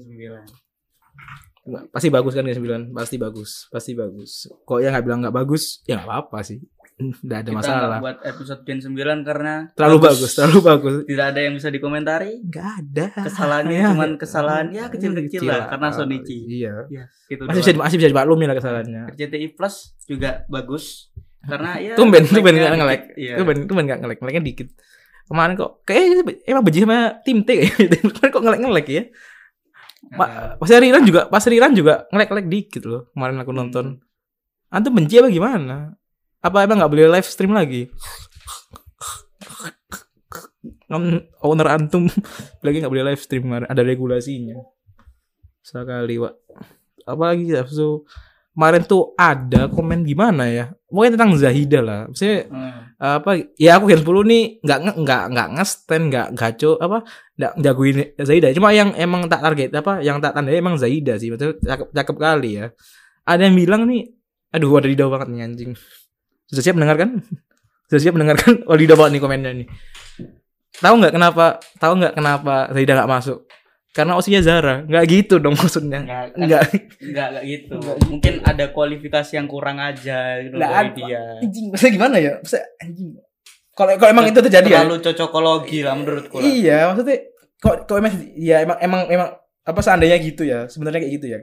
Speaker 1: 9.
Speaker 2: Nggak, Pasti bagus kan Gen 9, pasti bagus, pasti bagus. Kok yang nggak bilang nggak bagus, ya nggak apa-apa sih. Nggak ada
Speaker 1: Kita
Speaker 2: masalah.
Speaker 1: nggak buat episode Gen 9 karena
Speaker 2: Terlalu bagus, terlalu bagus.
Speaker 1: tidak ada yang bisa dikomentari.
Speaker 2: Nggak ada.
Speaker 1: Kesalahannya
Speaker 2: Ya.
Speaker 1: cuman kesalahan ya kecil-kecil lah karena Sonichi.
Speaker 2: Iya.
Speaker 1: Ya, gitu
Speaker 2: Masih bisa, masih bisa dimaklumi lah kesalahannya.
Speaker 1: RCTI Plus juga bagus karena ya
Speaker 2: Tumben, tumben
Speaker 1: like-nya
Speaker 2: nggak nge-like.
Speaker 1: dikit. Iya.
Speaker 2: Tumben, tumben nggak nge-like. Nge-like-nya dikit. Kemarin kok kayaknya emang benci sama tim T kayaknya. Kemarin kok nge-like nge-like ya. Ma- pas Riran juga, pas Riran juga ngelek-ngelek dikit loh. Kemarin aku nonton. Antum benci apa gimana? Apa emang nggak boleh live stream lagi? Kan Owner antum lagi nggak boleh live stream kemarin. Ada regulasinya. Sekali, Wak. Apalagi ya, so, kemarin tuh ada komen gimana ya? Mungkin tentang Zahida lah. Maksudnya
Speaker 1: Hmm.
Speaker 2: apa ya aku gen 10 nih nggak nge- nggak nggak ngestand nggak gaco apa nggak jagoin Zaida cuma yang emang tak target apa yang tak tandai emang Zaida sih betul cakep cakep kali ya ada yang bilang nih aduh wadidaw banget nih anjing sudah siap mendengarkan sudah siap mendengarkan wadidaw banget nih komennya nih tahu nggak kenapa tahu nggak kenapa Zaida nggak masuk karena usia Zara nggak gitu dong maksudnya
Speaker 1: Nggak, kan-
Speaker 2: nggak
Speaker 1: nggak, nggak gitu. Mungkin ada kualifikasi yang kurang aja gitu
Speaker 2: Nggak
Speaker 1: dari
Speaker 2: ada.
Speaker 1: dia.
Speaker 2: anjing maksudnya gimana ya maksudnya anjing kalau kalau emang itu terjadi ya
Speaker 1: Terlalu cocokologi lah menurutku. lah.
Speaker 2: Iya, maksudnya kok kok emang ya emang emang emang apa seandainya gitu ya, sebenarnya kayak gitu ya.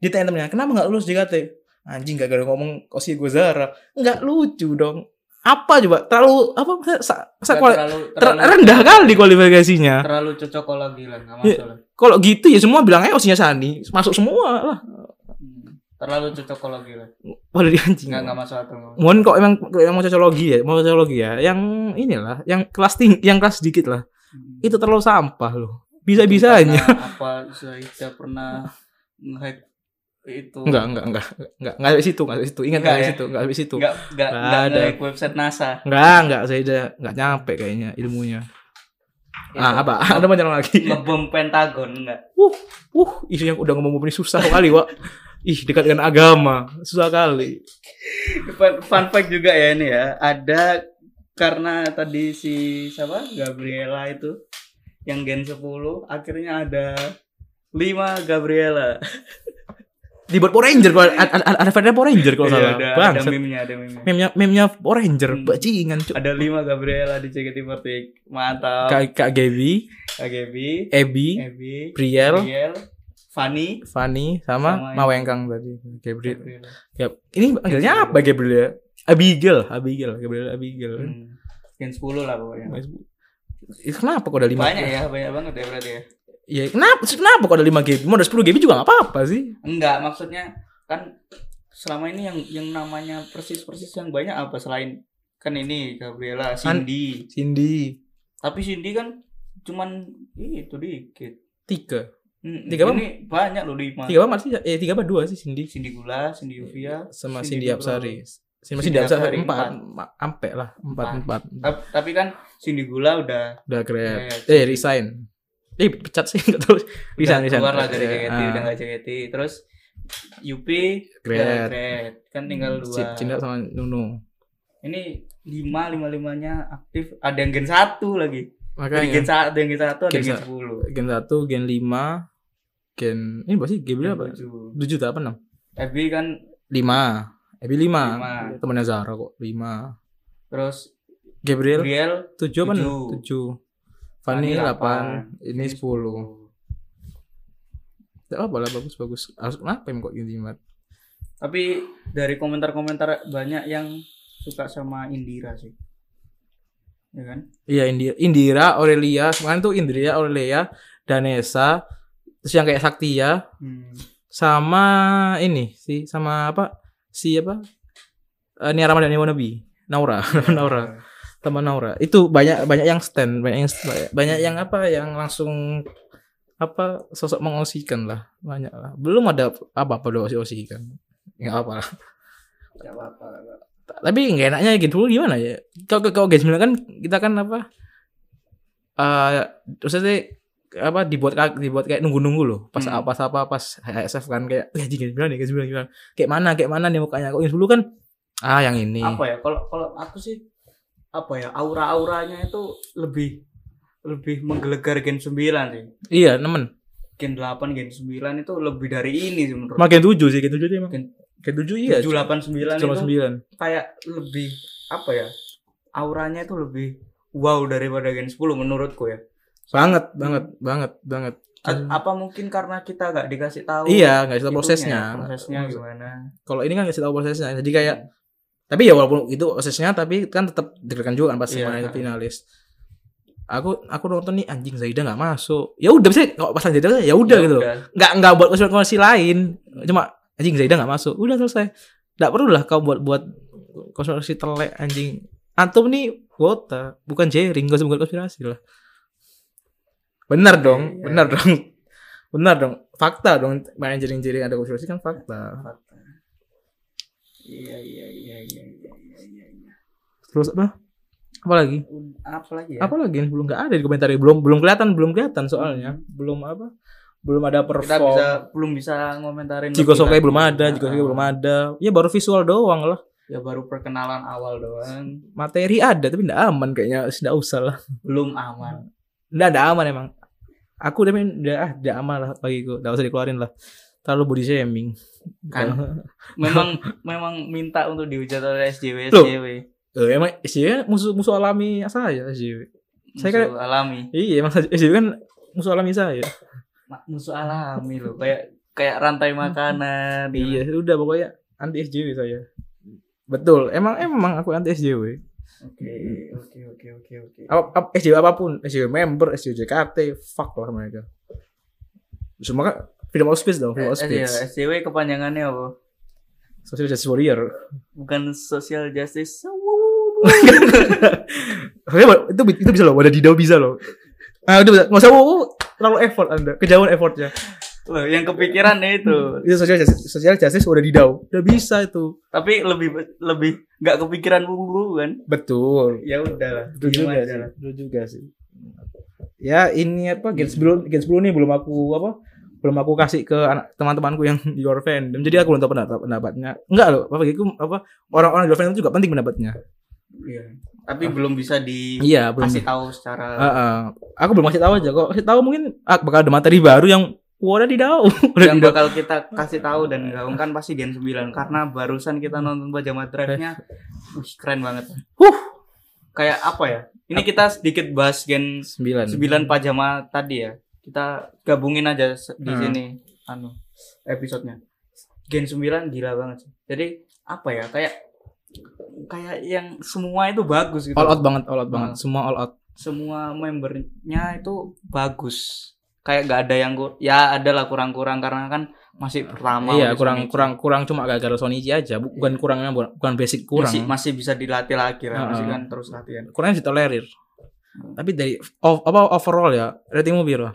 Speaker 2: Dia tanya temennya, kenapa nggak lulus JKT? Anjing gak ada ngomong Kosi gue Zara. Nggak lucu dong. Apa coba? Terlalu apa? Masa, sa- masa
Speaker 1: Nggak
Speaker 2: kuali-
Speaker 1: terlalu
Speaker 2: ter-
Speaker 1: terlalu,
Speaker 2: rendah kali kualifikasinya.
Speaker 1: terlalu cocokologi lah nggak
Speaker 2: Iya.
Speaker 1: masuk lah.
Speaker 2: Kalau gitu ya semua bilang aja osinya Sani, masuk semua lah.
Speaker 1: Hmm. Terlalu cocokologi lah.
Speaker 2: Waduh dia anjing.
Speaker 1: Nggak nggak masuk akal. nggak masuk.
Speaker 2: Mohon kok emang kok emang mau cocologi ya, mau cocologi ya. Yang inilah, yang kelas tinggi, yang kelas sedikit lah. Itu terlalu sampah loh. Iya, Bisa-bisanya.
Speaker 1: Karena apa Zaida pernah nge-hack itu
Speaker 2: Enggak, enggak, enggak, enggak, enggak sampai situ, enggak sampai situ. Ingat
Speaker 1: Enggak ya?
Speaker 2: enggak sampai situ, enggak sampai situ.
Speaker 1: nggak nggak
Speaker 2: Nggak
Speaker 1: nggak
Speaker 2: ada.
Speaker 1: nge-hack website NASA
Speaker 2: Enggak, enggak, saya udah enggak nyampe kayaknya ilmunya.
Speaker 1: Iya.
Speaker 2: Ah, apa? Ada banyak lagi.
Speaker 1: ngebom Pentagon enggak
Speaker 2: Wuh, wuh, isu yang udah ngomong ini susah kali, Wak. Ih, dekat dengan agama, susah kali.
Speaker 1: fun, fun fact juga ya ini ya ada karena tadi si siapa Gabriela itu yang gen 10 akhirnya ada 5 Gabriela
Speaker 2: Dibuat Power Ranger kalau ada ada, ada varian Power Ranger kalau
Speaker 1: Iya,
Speaker 2: salah.
Speaker 1: ada,
Speaker 2: Bang,
Speaker 1: ada meme-nya ada meme-nya
Speaker 2: meme-nya meme-nya Power Ranger,
Speaker 1: Hmm.
Speaker 2: bajingan, cuk.
Speaker 1: ada 5 Gabriela di JKT48 mantap
Speaker 2: Kak Kak Gaby,
Speaker 1: Kak Gaby
Speaker 2: Ebi,
Speaker 1: Ebi
Speaker 2: Briel,
Speaker 1: Gabriel Fanny
Speaker 2: Fani sama
Speaker 1: Sama ini.
Speaker 2: Mawengkang tadi. Gabriel.
Speaker 1: Gabriela.
Speaker 2: Gab- Ini panggilnya apa Gabriel ya? Abigail, Abigail, Gabriel Abigail.
Speaker 1: Hmm. Gen 10 lah pokoknya
Speaker 2: Eh, Kenapa kok ada 5
Speaker 1: Iya. Banyak ya, banyak banget ya berarti ya.
Speaker 2: Ya, kenapa kenapa kok ada 5 GB? Mau ada 10 GB juga gak apa-apa sih.
Speaker 1: Enggak, maksudnya kan selama ini yang yang namanya
Speaker 2: Kan
Speaker 1: persis-persis yang banyak apa selain kan ini Gabriela, Cindy,
Speaker 2: Cindy,
Speaker 1: Tapi Cindy kan cuman itu dikit.
Speaker 2: tiga
Speaker 1: Mm,
Speaker 2: Tiga apa?
Speaker 1: ini banyak loh lima.
Speaker 2: tiga apa sih eh tiga apa dua sih Cindy
Speaker 1: Cindy Gula, Cindy Yuvia,
Speaker 2: sama
Speaker 1: Cindy
Speaker 2: Cindy Apsari
Speaker 1: Cindy
Speaker 2: Cindy, Cindy
Speaker 1: Apsari,
Speaker 2: Apsari empat
Speaker 1: empat.
Speaker 2: Ma- ampe lah empat empat
Speaker 1: Ta- Tapi kan Cindy Gula udah
Speaker 2: udah grab
Speaker 1: Grab.
Speaker 2: eh resign eh pecat sih nggak tahu
Speaker 1: udah
Speaker 2: resign resign
Speaker 1: keluar lah dari
Speaker 2: Eh,
Speaker 1: JKT,
Speaker 2: ah,
Speaker 1: udah nggak JKT. Terus UP udah
Speaker 2: grab
Speaker 1: grad. kan tinggal dua.
Speaker 2: Hmm, Si- Cinda sama Nuno
Speaker 1: Ini lima lima limanya aktif. Ada yang gen satu lagi. Dari gen
Speaker 2: makanya
Speaker 1: satu, ada yang gen satu, ada
Speaker 2: Iya, Gen
Speaker 1: yang gen
Speaker 2: sa-
Speaker 1: sepuluh.
Speaker 2: gen satu gen lima gen ini berapa sih gen berapa
Speaker 1: Gen tujuh.
Speaker 2: tujuh atau apa enam
Speaker 1: FB gitu. kan
Speaker 2: lima Ebi lima,
Speaker 1: Lima.
Speaker 2: temennya Zara kok lima
Speaker 1: terus
Speaker 2: Gabriel
Speaker 1: Gabriel
Speaker 2: tujuh apa
Speaker 1: Tujuh.
Speaker 2: enam? tujuh Fanny
Speaker 1: Fanny
Speaker 2: delapan ini sepuluh
Speaker 1: sepuluh.
Speaker 2: tidak apa lah bagus bagus harus kenapa emang kok gini mat
Speaker 1: Tapi dari komentar-komentar banyak yang suka sama Indira sih. Ya kan?
Speaker 2: iya Indira, Indira Aurelia kemarin tuh Indira Aurelia Danesa terus yang kayak Saktia
Speaker 1: Hmm.
Speaker 2: sama ini si sama apa si apa Eh Nia Ramadhani Wannabe Naura
Speaker 1: Iya.
Speaker 2: Naura teman Naura itu banyak banyak yang stand banyak yang banyak yang apa yang langsung apa sosok mengosikan lah banyak lah belum ada apa apa doa osikan nggak apa lah
Speaker 1: Gak apa-apa. nggak apa-apa.
Speaker 2: tapi nggak enaknya gitu dulu gimana ya kalau kalau guys bilang kan kita kan apa eh maksudnya apa dibuat kayak dibuat kayak nunggu-nunggu loh pas
Speaker 1: Hmm.
Speaker 2: apa apa pas HSF kan kayak ya gini bilang nih guys bilang bilang kayak mana kayak mana nih mukanya kok yang dulu kan ah yang ini
Speaker 1: Apa ya? Kalau kalau aku sih apa ya? Aura-auranya itu lebih lebih menggelegar gen 9 sih.
Speaker 2: iya nemen
Speaker 1: Gen 8, gen 9 itu lebih dari ini sih menurut.
Speaker 2: makin tujuh sih gitu tujuh emang
Speaker 1: Makin-
Speaker 2: kayak tujuh iya
Speaker 1: 7 8 9
Speaker 2: cuma
Speaker 1: itu
Speaker 2: sembilan
Speaker 1: kayak lebih apa ya? Auranya itu lebih wow daripada gen 10 menurutku ya.
Speaker 2: banget banget banget banget
Speaker 1: A- apa mungkin karena kita nggak dikasih tahu
Speaker 2: iya nggak tahu
Speaker 1: itunya, ya,
Speaker 2: prosesnya
Speaker 1: prosesnya gitu. gimana
Speaker 2: kalau ini kan nggak tahu prosesnya jadi kayak tapi ya walaupun itu prosesnya tapi kan tetap deg-degan juga kan pas
Speaker 1: Iya.
Speaker 2: kemarin finalis aku aku nonton nih anjing Zaida nggak masuk ya udah bisa kalau pas Zaida ya udah gitu nggak nggak buat konsekuensi lain cuma anjing Zaida nggak masuk udah selesai nggak perlu lah kau buat buat konspirasi telek anjing antum nih kuota bukan jaring gak usah buat konspirasi lah benar dong
Speaker 1: Iya.
Speaker 2: benar dong benar dong fakta dong main jaring jaring ada konspirasi kan fakta
Speaker 1: iya iya iya iya iya iya iya
Speaker 2: terus apa apa lagi
Speaker 1: Ud- apa lagi ya
Speaker 2: apa lagi yang belum nggak ada di komentar belum belum kelihatan belum kelihatan soalnya belum apa belum ada perform
Speaker 1: kita bisa belum bisa ngomentarin
Speaker 2: Jiko
Speaker 1: lebih
Speaker 2: Sokai
Speaker 1: lanjut.
Speaker 2: belum ada, Jiko
Speaker 1: Ah,
Speaker 2: Sokai belum ada. Ya baru visual doang lah.
Speaker 1: ya baru perkenalan awal doang
Speaker 2: Materi ada tapi enggak aman kayaknya, enggak usah lah.
Speaker 1: belum aman
Speaker 2: Enggak ada aman emang. Aku udah main udah ah, udah aman lah bagiku. Enggak usah dikeluarin lah. Terlalu body shaming.
Speaker 1: Kan. memang memang minta untuk dihujat oleh SJW
Speaker 2: Loh,
Speaker 1: SJW
Speaker 2: Eh, emang SJW musuh musuh alami saya SJW. saya
Speaker 1: musuh alami
Speaker 2: Iya, emang SJW kan musuh alami saya.
Speaker 1: Ma- musuh alami loh kayak kayak rantai makanan gitu.
Speaker 2: Iya, udah pokoknya anti SJW saya. Betul. Emang emang aku anti SJW.
Speaker 1: oke oke oke oke oke
Speaker 2: apa, apa SJW apapun SJW member SJW JKT fuck lah mereka semua kan freedom of speech dong freedom of
Speaker 1: Eh, iya,
Speaker 2: speech
Speaker 1: SJW kepanjangannya apa
Speaker 2: social justice warrior
Speaker 1: bukan social justice
Speaker 2: Soalnya itu itu bisa loh ada Dido bisa loh ah itu bisa nggak usah wow, terlalu effort anda kejauhan effortnya
Speaker 1: loh yang kepikiran ya itu
Speaker 2: itu social justice social justice udah Dido udah bisa itu
Speaker 1: tapi lebih lebih nggak kepikiran dulu kan
Speaker 2: betul
Speaker 1: ya udahlah
Speaker 2: itu juga sih itu juga sih ya ini apa gen sebelum gen sebelum ini belum aku apa belum aku kasih ke anak teman-temanku yang di luar fandom jadi aku belum tahu pendapat pendapatnya enggak loh apa gitu apa orang-orang di luar fandom juga penting pendapatnya
Speaker 1: Iya. tapi belum bisa dikasih
Speaker 2: Ah. iya belum
Speaker 1: tahu secara
Speaker 2: Ah, ah. aku belum kasih tahu aja kok kasih tahu mungkin ah, bakal ada materi baru yang udah di daun udah
Speaker 1: yang
Speaker 2: di daun
Speaker 1: bakal kita kasih tahu dan gaungkan pasti Gen 9 karena barusan kita nonton pajama drive-nya wih keren banget
Speaker 2: Eh. Huh. Ah.
Speaker 1: kayak apa ya ini kita sedikit bahas Gen
Speaker 2: sembilan
Speaker 1: 9 pajama tadi ya kita gabungin aja se- di
Speaker 2: Hmm.
Speaker 1: sini anu episodenya gen 9 gila banget sih jadi apa ya kayak kayak yang semua itu bagus gitu
Speaker 2: all out banget all out banget
Speaker 1: Ah.
Speaker 2: semua all out
Speaker 1: semua membernya itu bagus kayak gak ada yang gu- ya ada lah kurang-kurang karena kan masih pertama udah
Speaker 2: iya kurang
Speaker 1: Sonichi.
Speaker 2: kurang kurang cuma gara-gara Sonichi aja bukan kurangnya bukan basic kurang
Speaker 1: masih, masih bisa dilatih lagi lah masih
Speaker 2: Ah.
Speaker 1: kan terus latihan
Speaker 2: kurangnya ditolerir Tapi dari o- apa overall ya ratingmu piro?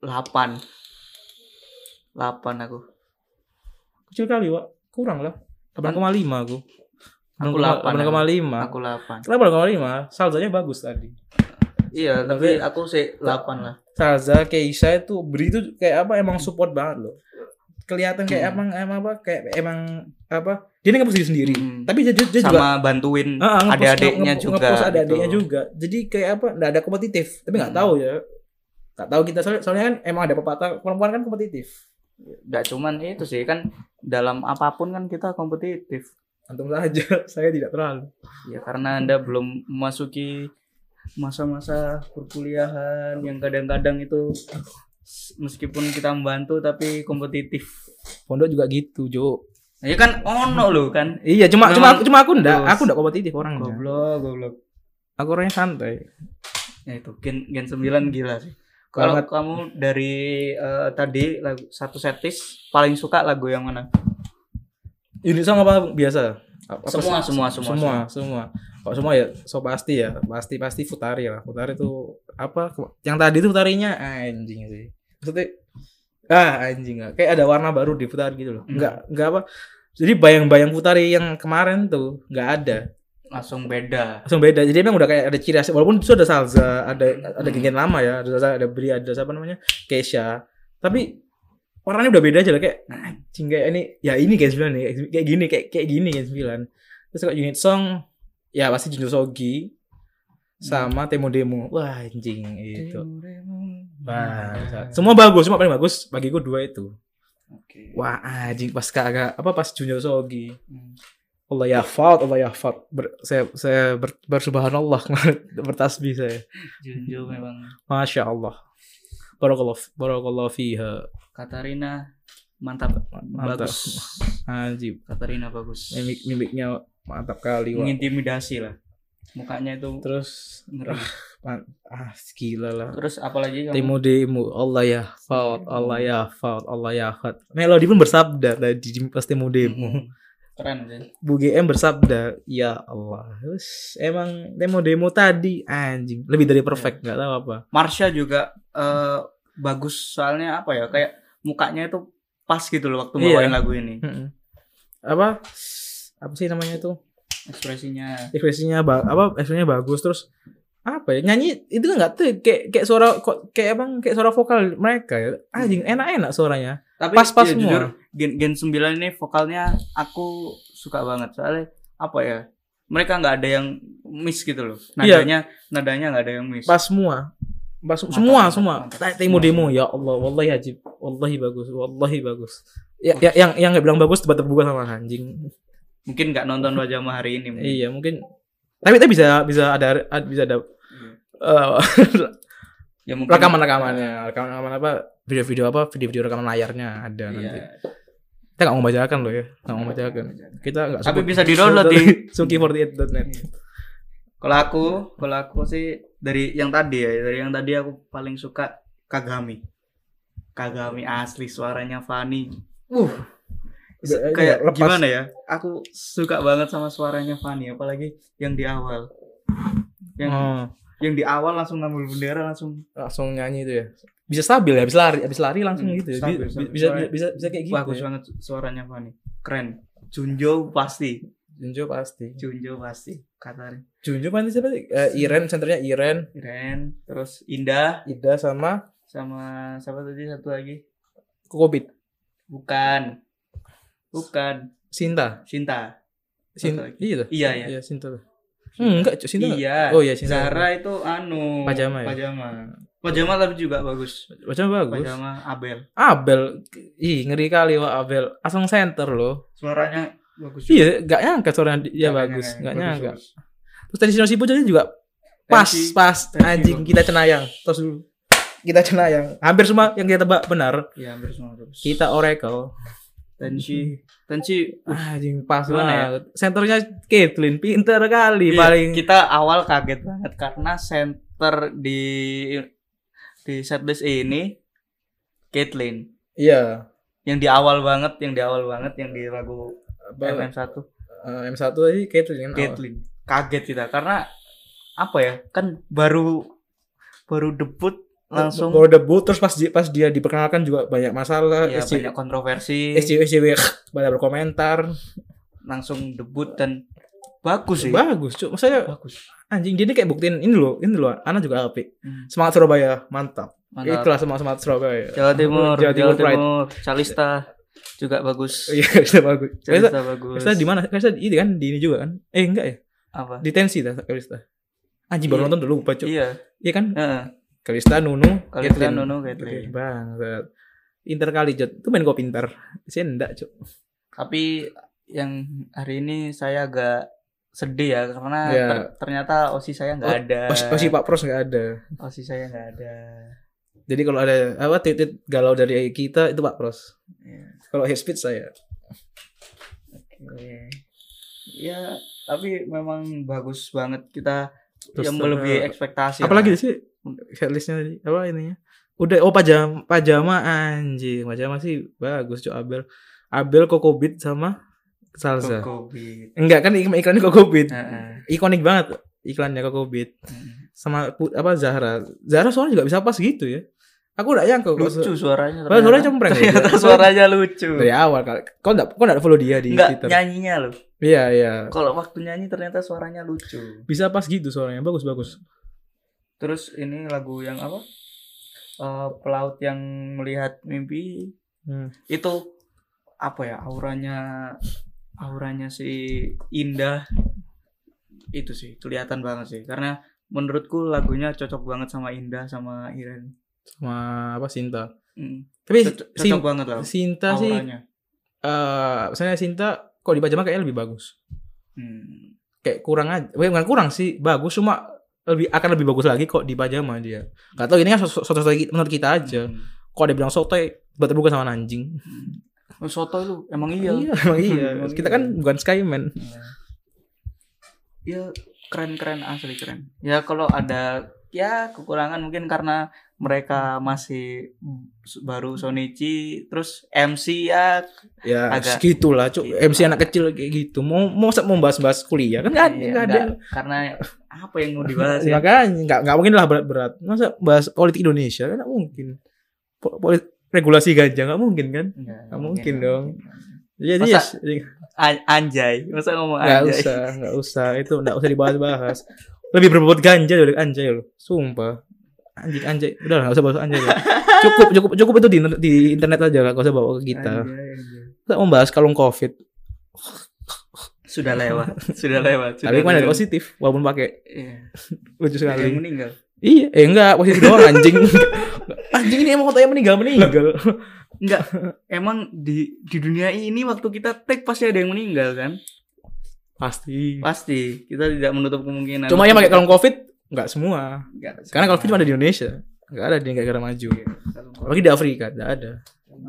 Speaker 1: 8 8 aku
Speaker 2: Kecil kali, Wak. Kurang lah. 8,5 aku.
Speaker 1: Aku delapan,
Speaker 2: 8,5.
Speaker 1: aku 8
Speaker 2: Kenapa 8,5? Salzanya bagus tadi.
Speaker 1: iya tapi aku sih 8 lah
Speaker 2: Salza, Keisha itu Bri itu kayak apa emang support banget loh. Kelihatan kayak
Speaker 1: Hmm.
Speaker 2: emang emang apa kayak emang apa dia nggak posisi sendiri.
Speaker 1: Hmm.
Speaker 2: Tapi dia, dia juga
Speaker 1: sama bantuin
Speaker 2: Ah, ngepost-
Speaker 1: adik-adiknya
Speaker 2: nge-
Speaker 1: juga
Speaker 2: ngepost adik-adiknya
Speaker 1: gitu.
Speaker 2: juga jadi kayak apa nggak ada kompetitif tapi nggak
Speaker 1: Hmm.
Speaker 2: tahu ya nggak tahu kita soalnya, soalnya kan emang ada pepatah perempuan kan kompetitif
Speaker 1: Nggak cuman itu sih kan dalam apapun kan kita kompetitif
Speaker 2: antum saja saya tidak terlalu
Speaker 1: ya karena anda belum memasuki masa-masa perkuliahan yang kadang-kadang itu s- meskipun kita membantu tapi kompetitif
Speaker 2: pondok juga gitu Jo
Speaker 1: ya kan ono lo kan
Speaker 2: iya cuma
Speaker 1: Memang-
Speaker 2: cuma aku cuma aku ndak
Speaker 1: Terus.
Speaker 2: aku ndak kompetitif orangnya
Speaker 1: goblok goblok
Speaker 2: aku orangnya santai
Speaker 1: ya itu gen gen 9 gila sih kalau
Speaker 2: Banget.
Speaker 1: kamu dari eh, tadi lagu satu setis paling suka lagu yang mana
Speaker 2: ini sama apa biasa Apa- apa-
Speaker 1: Semua, semua, semua,
Speaker 2: semua semua kok semua ya so pasti ya pasti pasti futari lah futari itu apa yang tadi itu futarinya anjing sih maksudnya ah anjing lah. kayak ada warna baru di futari gitu loh
Speaker 1: Hmm.
Speaker 2: nggak nggak apa jadi bayang-bayang futari yang kemarin tuh nggak ada
Speaker 1: langsung beda
Speaker 2: langsung beda jadi emang udah kayak ada ciri khas walaupun itu ada salsa ada ada
Speaker 1: Hmm.
Speaker 2: genggen lama ya ada salsa ada bri ada siapa namanya keisha tapi warnanya udah beda aja lah kayak "Ah, anjing kayak ini ya ini kayak sembilan nih kayak gini kayak kayak gini kayak sembilan terus kalau unit song ya pasti Junjo Sogi sama Temo Demo wah anjing
Speaker 1: Iya.
Speaker 2: itu Gitu. Wah, semua bagus semua paling bagus bagi gue dua itu
Speaker 1: Oke.
Speaker 2: wah anjing pas kagak apa pas Junjo Sogi
Speaker 1: Hmm.
Speaker 2: Allah yafat Allah yafat Ber- saya saya ber, bersubhanallah kemarin, bertasbih saya
Speaker 1: Junjo
Speaker 2: Hmm.
Speaker 1: memang
Speaker 2: masya Allah Barakallah Barakallah fiha
Speaker 1: Katarina mantap,
Speaker 2: Mantap.
Speaker 1: bagus
Speaker 2: Anjing
Speaker 1: Katarina bagus
Speaker 2: mimik mimiknya mantap kali wah.
Speaker 1: mengintimidasi lah mukanya itu
Speaker 2: terus
Speaker 1: ngeri
Speaker 2: ah gila lah
Speaker 1: terus apalagi kamu
Speaker 2: Temu demo Allah ya faud Allah ya faud Allah ya faud Melodi pun bersabda tadi di pas temu demo
Speaker 1: Hmm. keren sih
Speaker 2: Bu GM bersabda ya Allah Terus, emang temu demo tadi anjing lebih dari perfect nggak tahu apa
Speaker 1: Marsha juga eh, bagus soalnya apa ya kayak mukanya itu pas gitu loh waktu
Speaker 2: Iya.
Speaker 1: bawain lagu ini
Speaker 2: Mm-mm. apa apa sih namanya itu
Speaker 1: ekspresinya
Speaker 2: ekspresinya ba- apa ekspresinya bagus terus apa ya nyanyi itu kan nggak tuh kayak kayak suara kok- kayak emang kayak suara vokal mereka ya anjing
Speaker 1: Iya.
Speaker 2: enak-enak suaranya
Speaker 1: tapi
Speaker 2: pas-pas
Speaker 1: ya,
Speaker 2: semua
Speaker 1: jujur gen gen 9 ini vokalnya aku suka banget soalnya apa ya mereka nggak ada yang miss gitu loh
Speaker 2: Iya.
Speaker 1: nadanya nadanya nggak ada yang miss
Speaker 2: pas semua pas
Speaker 1: Mantap,
Speaker 2: semua
Speaker 1: mantap,
Speaker 2: semua
Speaker 1: mantap.
Speaker 2: Kayak demo demo ya Allah wallahi ajib wallahi bagus wallahi bagus ya, ya yang yang nggak bilang bagus tiba terbuka sama anjing
Speaker 1: mungkin nggak nonton wajah hari ini mungkin.
Speaker 2: iya mungkin tapi kita bisa bisa ada ad- bisa ada eh,
Speaker 1: ya Iya. mungkin ya.
Speaker 2: rekaman rekamannya rekaman rekaman apa video-video apa video-video rekaman layarnya ada nanti
Speaker 1: Iya.
Speaker 2: kita nggak mau bacakan loh ya nggak mau bacakan kita nggak
Speaker 1: tapi
Speaker 2: sebut-
Speaker 1: bisa di download di Iya.
Speaker 2: suki48.net
Speaker 1: kalau aku kalau aku sih dari yang tadi ya dari yang tadi aku paling suka Kagami Kagami asli suaranya Fani
Speaker 2: uh iya,
Speaker 1: Se- kayak gimana ya aku suka banget sama suaranya Fani apalagi yang di awal ya? yang
Speaker 2: Oh.
Speaker 1: yang di awal langsung ngambil bendera langsung
Speaker 2: Hmm. langsung nyanyi itu ya bisa stabil ya habis lari habis lari langsung
Speaker 1: Hmm,
Speaker 2: gitu ya
Speaker 1: stabil,
Speaker 2: Bi-
Speaker 1: stabil.
Speaker 2: bisa
Speaker 1: Soalnya
Speaker 2: bisa bisa kayak gitu
Speaker 1: bagus
Speaker 2: ya.
Speaker 1: banget suaranya Fani keren Junjo pasti
Speaker 2: Junjo pasti
Speaker 1: Junjo pasti Katarin
Speaker 2: Junjo pasti siapa sih Eh, Iren senternya Iren
Speaker 1: Ren terus Indah
Speaker 2: Ida sama
Speaker 1: sama siapa tadi satu lagi
Speaker 2: Kokobit
Speaker 1: bukan bukan
Speaker 2: Sinta
Speaker 1: Sinta Satu
Speaker 2: Sinta
Speaker 1: lagi.
Speaker 2: iya tuh
Speaker 1: iya ya
Speaker 2: iya Sinta tuh. Hmm, enggak Cuk, Sinta enggak.
Speaker 1: iya
Speaker 2: oh iya Sinta
Speaker 1: Zara itu anu
Speaker 2: Pajama ya?
Speaker 1: pajama pajama tapi juga bagus
Speaker 2: macam bagus
Speaker 1: pajama Abel
Speaker 2: Abel ih ngeri kali wah Abel asal center loh
Speaker 1: suaranya bagus juga.
Speaker 2: iya enggak nyangka suaranya dia
Speaker 1: Nggak
Speaker 2: Iya,
Speaker 1: nyangka,
Speaker 2: bagus
Speaker 1: ya.
Speaker 2: enggak
Speaker 1: bagus,
Speaker 2: nyangka
Speaker 1: bagus.
Speaker 2: terus tadi Sinosipo jadi juga pas
Speaker 1: Tensi,
Speaker 2: pas
Speaker 1: tensi
Speaker 2: anjing
Speaker 1: bagus.
Speaker 2: kita cenayang terus dulu kita cenayang hampir semua yang kita tebak benar
Speaker 1: Iya, hampir semua bagus.
Speaker 2: kita oracle
Speaker 1: Tensi, tensi
Speaker 2: anjing pas
Speaker 1: Gimana ya?
Speaker 2: banget senternya Caitlyn pinter kali
Speaker 1: Iya,
Speaker 2: paling
Speaker 1: kita awal kaget banget karena center di di setlist ini Caitlyn
Speaker 2: iya
Speaker 1: yang di awal banget, yang di awal banget, yang di lagu
Speaker 2: apa,
Speaker 1: MM1
Speaker 2: eh, M1 tadi Caitlyn kan awal.
Speaker 1: Caitlyn. Kaget kita karena apa ya kan baru baru debut langsung
Speaker 2: Oh, baru eh, debut terus pas di- pas dia diperkenalkan juga banyak masalah
Speaker 1: ya,
Speaker 2: SJW
Speaker 1: banyak kontroversi
Speaker 2: SJW SJW banyak berkomentar
Speaker 1: langsung debut dan bagus sih
Speaker 2: bagus cuy maksudnya
Speaker 1: bagus
Speaker 2: anjing dia ini kayak buktiin ini loh ini loh anak juga apik
Speaker 1: Hmm.
Speaker 2: semangat Surabaya mantap,
Speaker 1: mantap
Speaker 2: itulah semangat semangat Surabaya
Speaker 1: Jawa Timur
Speaker 2: Jawa
Speaker 1: Jawa
Speaker 2: Timur
Speaker 1: Timur,
Speaker 2: Pride.
Speaker 1: Calista juga bagus
Speaker 2: iya Kalista bagus Kalista
Speaker 1: Calista bagus
Speaker 2: Kalista di mana Kalista di- ini kan di ini juga kan eh enggak ya
Speaker 1: apa
Speaker 2: di tensi dah Kalista anjing
Speaker 1: Iya.
Speaker 2: baru nonton dulu lupa cuy
Speaker 1: iya
Speaker 2: iya kan
Speaker 1: heeh.
Speaker 2: Kalista Nunu
Speaker 1: Kalista
Speaker 2: Caitlin.
Speaker 1: Nunu
Speaker 2: Caitlin
Speaker 1: Caitlin
Speaker 2: banget pinter kali Jod itu main gue pinter sih enggak cuy
Speaker 1: tapi yang hari ini saya agak sedih ya karena
Speaker 2: Ya.
Speaker 1: ter- ternyata osi saya
Speaker 2: Oh,
Speaker 1: nggak ada
Speaker 2: pasti pasti Pak Pros nggak ada
Speaker 1: osi saya nggak ada
Speaker 2: jadi kalau ada apa titik galau dari kita itu Pak Pros
Speaker 1: ya.
Speaker 2: kalau hate speech saya
Speaker 1: oke. ya Iya. tapi memang bagus banget kita
Speaker 2: Terus
Speaker 1: yang
Speaker 2: terang.
Speaker 1: melebihi ekspektasi
Speaker 2: apalagi
Speaker 1: lah.
Speaker 2: sih headlistnya tadi apa ininya udah oh pajama pajama anjing pajama sih bagus cuy Abel Abel Kokobit sama Salsa
Speaker 1: Kokobit.
Speaker 2: enggak kan ik- iklannya Kokobit
Speaker 1: Heeh.
Speaker 2: ikonik banget iklannya Kokobit sama pu- apa Zahra Zahra soalnya juga bisa pas gitu ya aku udah yang kok
Speaker 1: lucu suaranya
Speaker 2: Padahal suaranya cempreng ya.
Speaker 1: ternyata suaranya lucu
Speaker 2: dari awal kali kau enggak kau enggak follow dia di
Speaker 1: Enggak,
Speaker 2: Twitter
Speaker 1: nyanyinya loh
Speaker 2: iya iya
Speaker 1: kalau waktu nyanyi ternyata suaranya lucu
Speaker 2: bisa pas gitu suaranya bagus bagus
Speaker 1: terus ini lagu yang apa Eh, pelaut yang melihat mimpi
Speaker 2: Hmm.
Speaker 1: itu apa ya auranya auranya si Indah itu sih kelihatan banget sih karena menurutku lagunya cocok banget sama Indah sama Iren
Speaker 2: sama apa Sinta
Speaker 1: Mm,
Speaker 2: tapi
Speaker 1: co- cocok
Speaker 2: Sin-
Speaker 1: banget lah
Speaker 2: Sinta sih
Speaker 1: auranya
Speaker 2: eh misalnya Sinta kok di Pajama kayaknya lebih bagus
Speaker 1: Hmm,
Speaker 2: kayak kurang aja Weh, bukan kurang sih bagus cuma lebih akan lebih bagus lagi kok di Pajama dia Gak tau ini kan soto soto menurut kita aja
Speaker 1: hmm,
Speaker 2: kok ada bilang sotoy buat terbuka sama anjing
Speaker 1: hmm. Oh, Soto lu emang iya
Speaker 2: emang iya
Speaker 1: Emang
Speaker 2: kita
Speaker 1: iya.
Speaker 2: kan bukan Skyman
Speaker 1: ya keren-keren asli keren ya kalau ada ya kekurangan mungkin karena mereka masih s- baru Sonichi terus MC ya
Speaker 2: ya
Speaker 1: Agak-
Speaker 2: segitulah cuk
Speaker 1: gitu.
Speaker 2: MC anak kecil kayak gitu mau mau mau bahas-bahas kuliah kan nggak ada
Speaker 1: ya,
Speaker 2: nggak ada
Speaker 1: nggak- karena apa yang mau dibahas ya
Speaker 2: makanya nggak nggak mungkin lah berat-berat masa bahas politik Indonesia kan nggak mungkin Po- poli- regulasi ganja nggak mungkin kan
Speaker 1: Nggak
Speaker 2: Nggak mungkin dong. jadi
Speaker 1: Masa-
Speaker 2: yes, jadi-
Speaker 1: An- anjay masa ngomong
Speaker 2: nggak
Speaker 1: anjay
Speaker 2: usah nggak usah itu nggak usah dibahas-bahas lebih berbobot ganja dari anjay loh sumpah anjing anjay udah lah, nggak usah bahas anjay lah. cukup cukup cukup itu di, di internet aja lah nggak usah bawa ke kita
Speaker 1: Anjay, anjay.
Speaker 2: kita mau bahas kalung covid
Speaker 1: sudah lewat sudah lewat sudah
Speaker 2: tapi kemarin ada
Speaker 1: lewat.
Speaker 2: positif walaupun pakai
Speaker 1: Iya. Ada
Speaker 2: lucu
Speaker 1: yang
Speaker 2: sekali
Speaker 1: meninggal
Speaker 2: iya eh enggak positif doang anjing anjing ini emang otaknya meninggal meninggal
Speaker 1: Enggak, emang di di dunia ini waktu kita take pasti ada yang meninggal kan?
Speaker 2: pasti
Speaker 1: Nah, Pasti, kita tidak menutup kemungkinan.
Speaker 2: cuma yang pakai kalung covid nggak semua
Speaker 1: Enggak,
Speaker 2: karena kalau cuma ada di Indonesia nggak ada di negara maju
Speaker 1: Iya, kalung covid.
Speaker 2: apalagi di Afrika nggak ada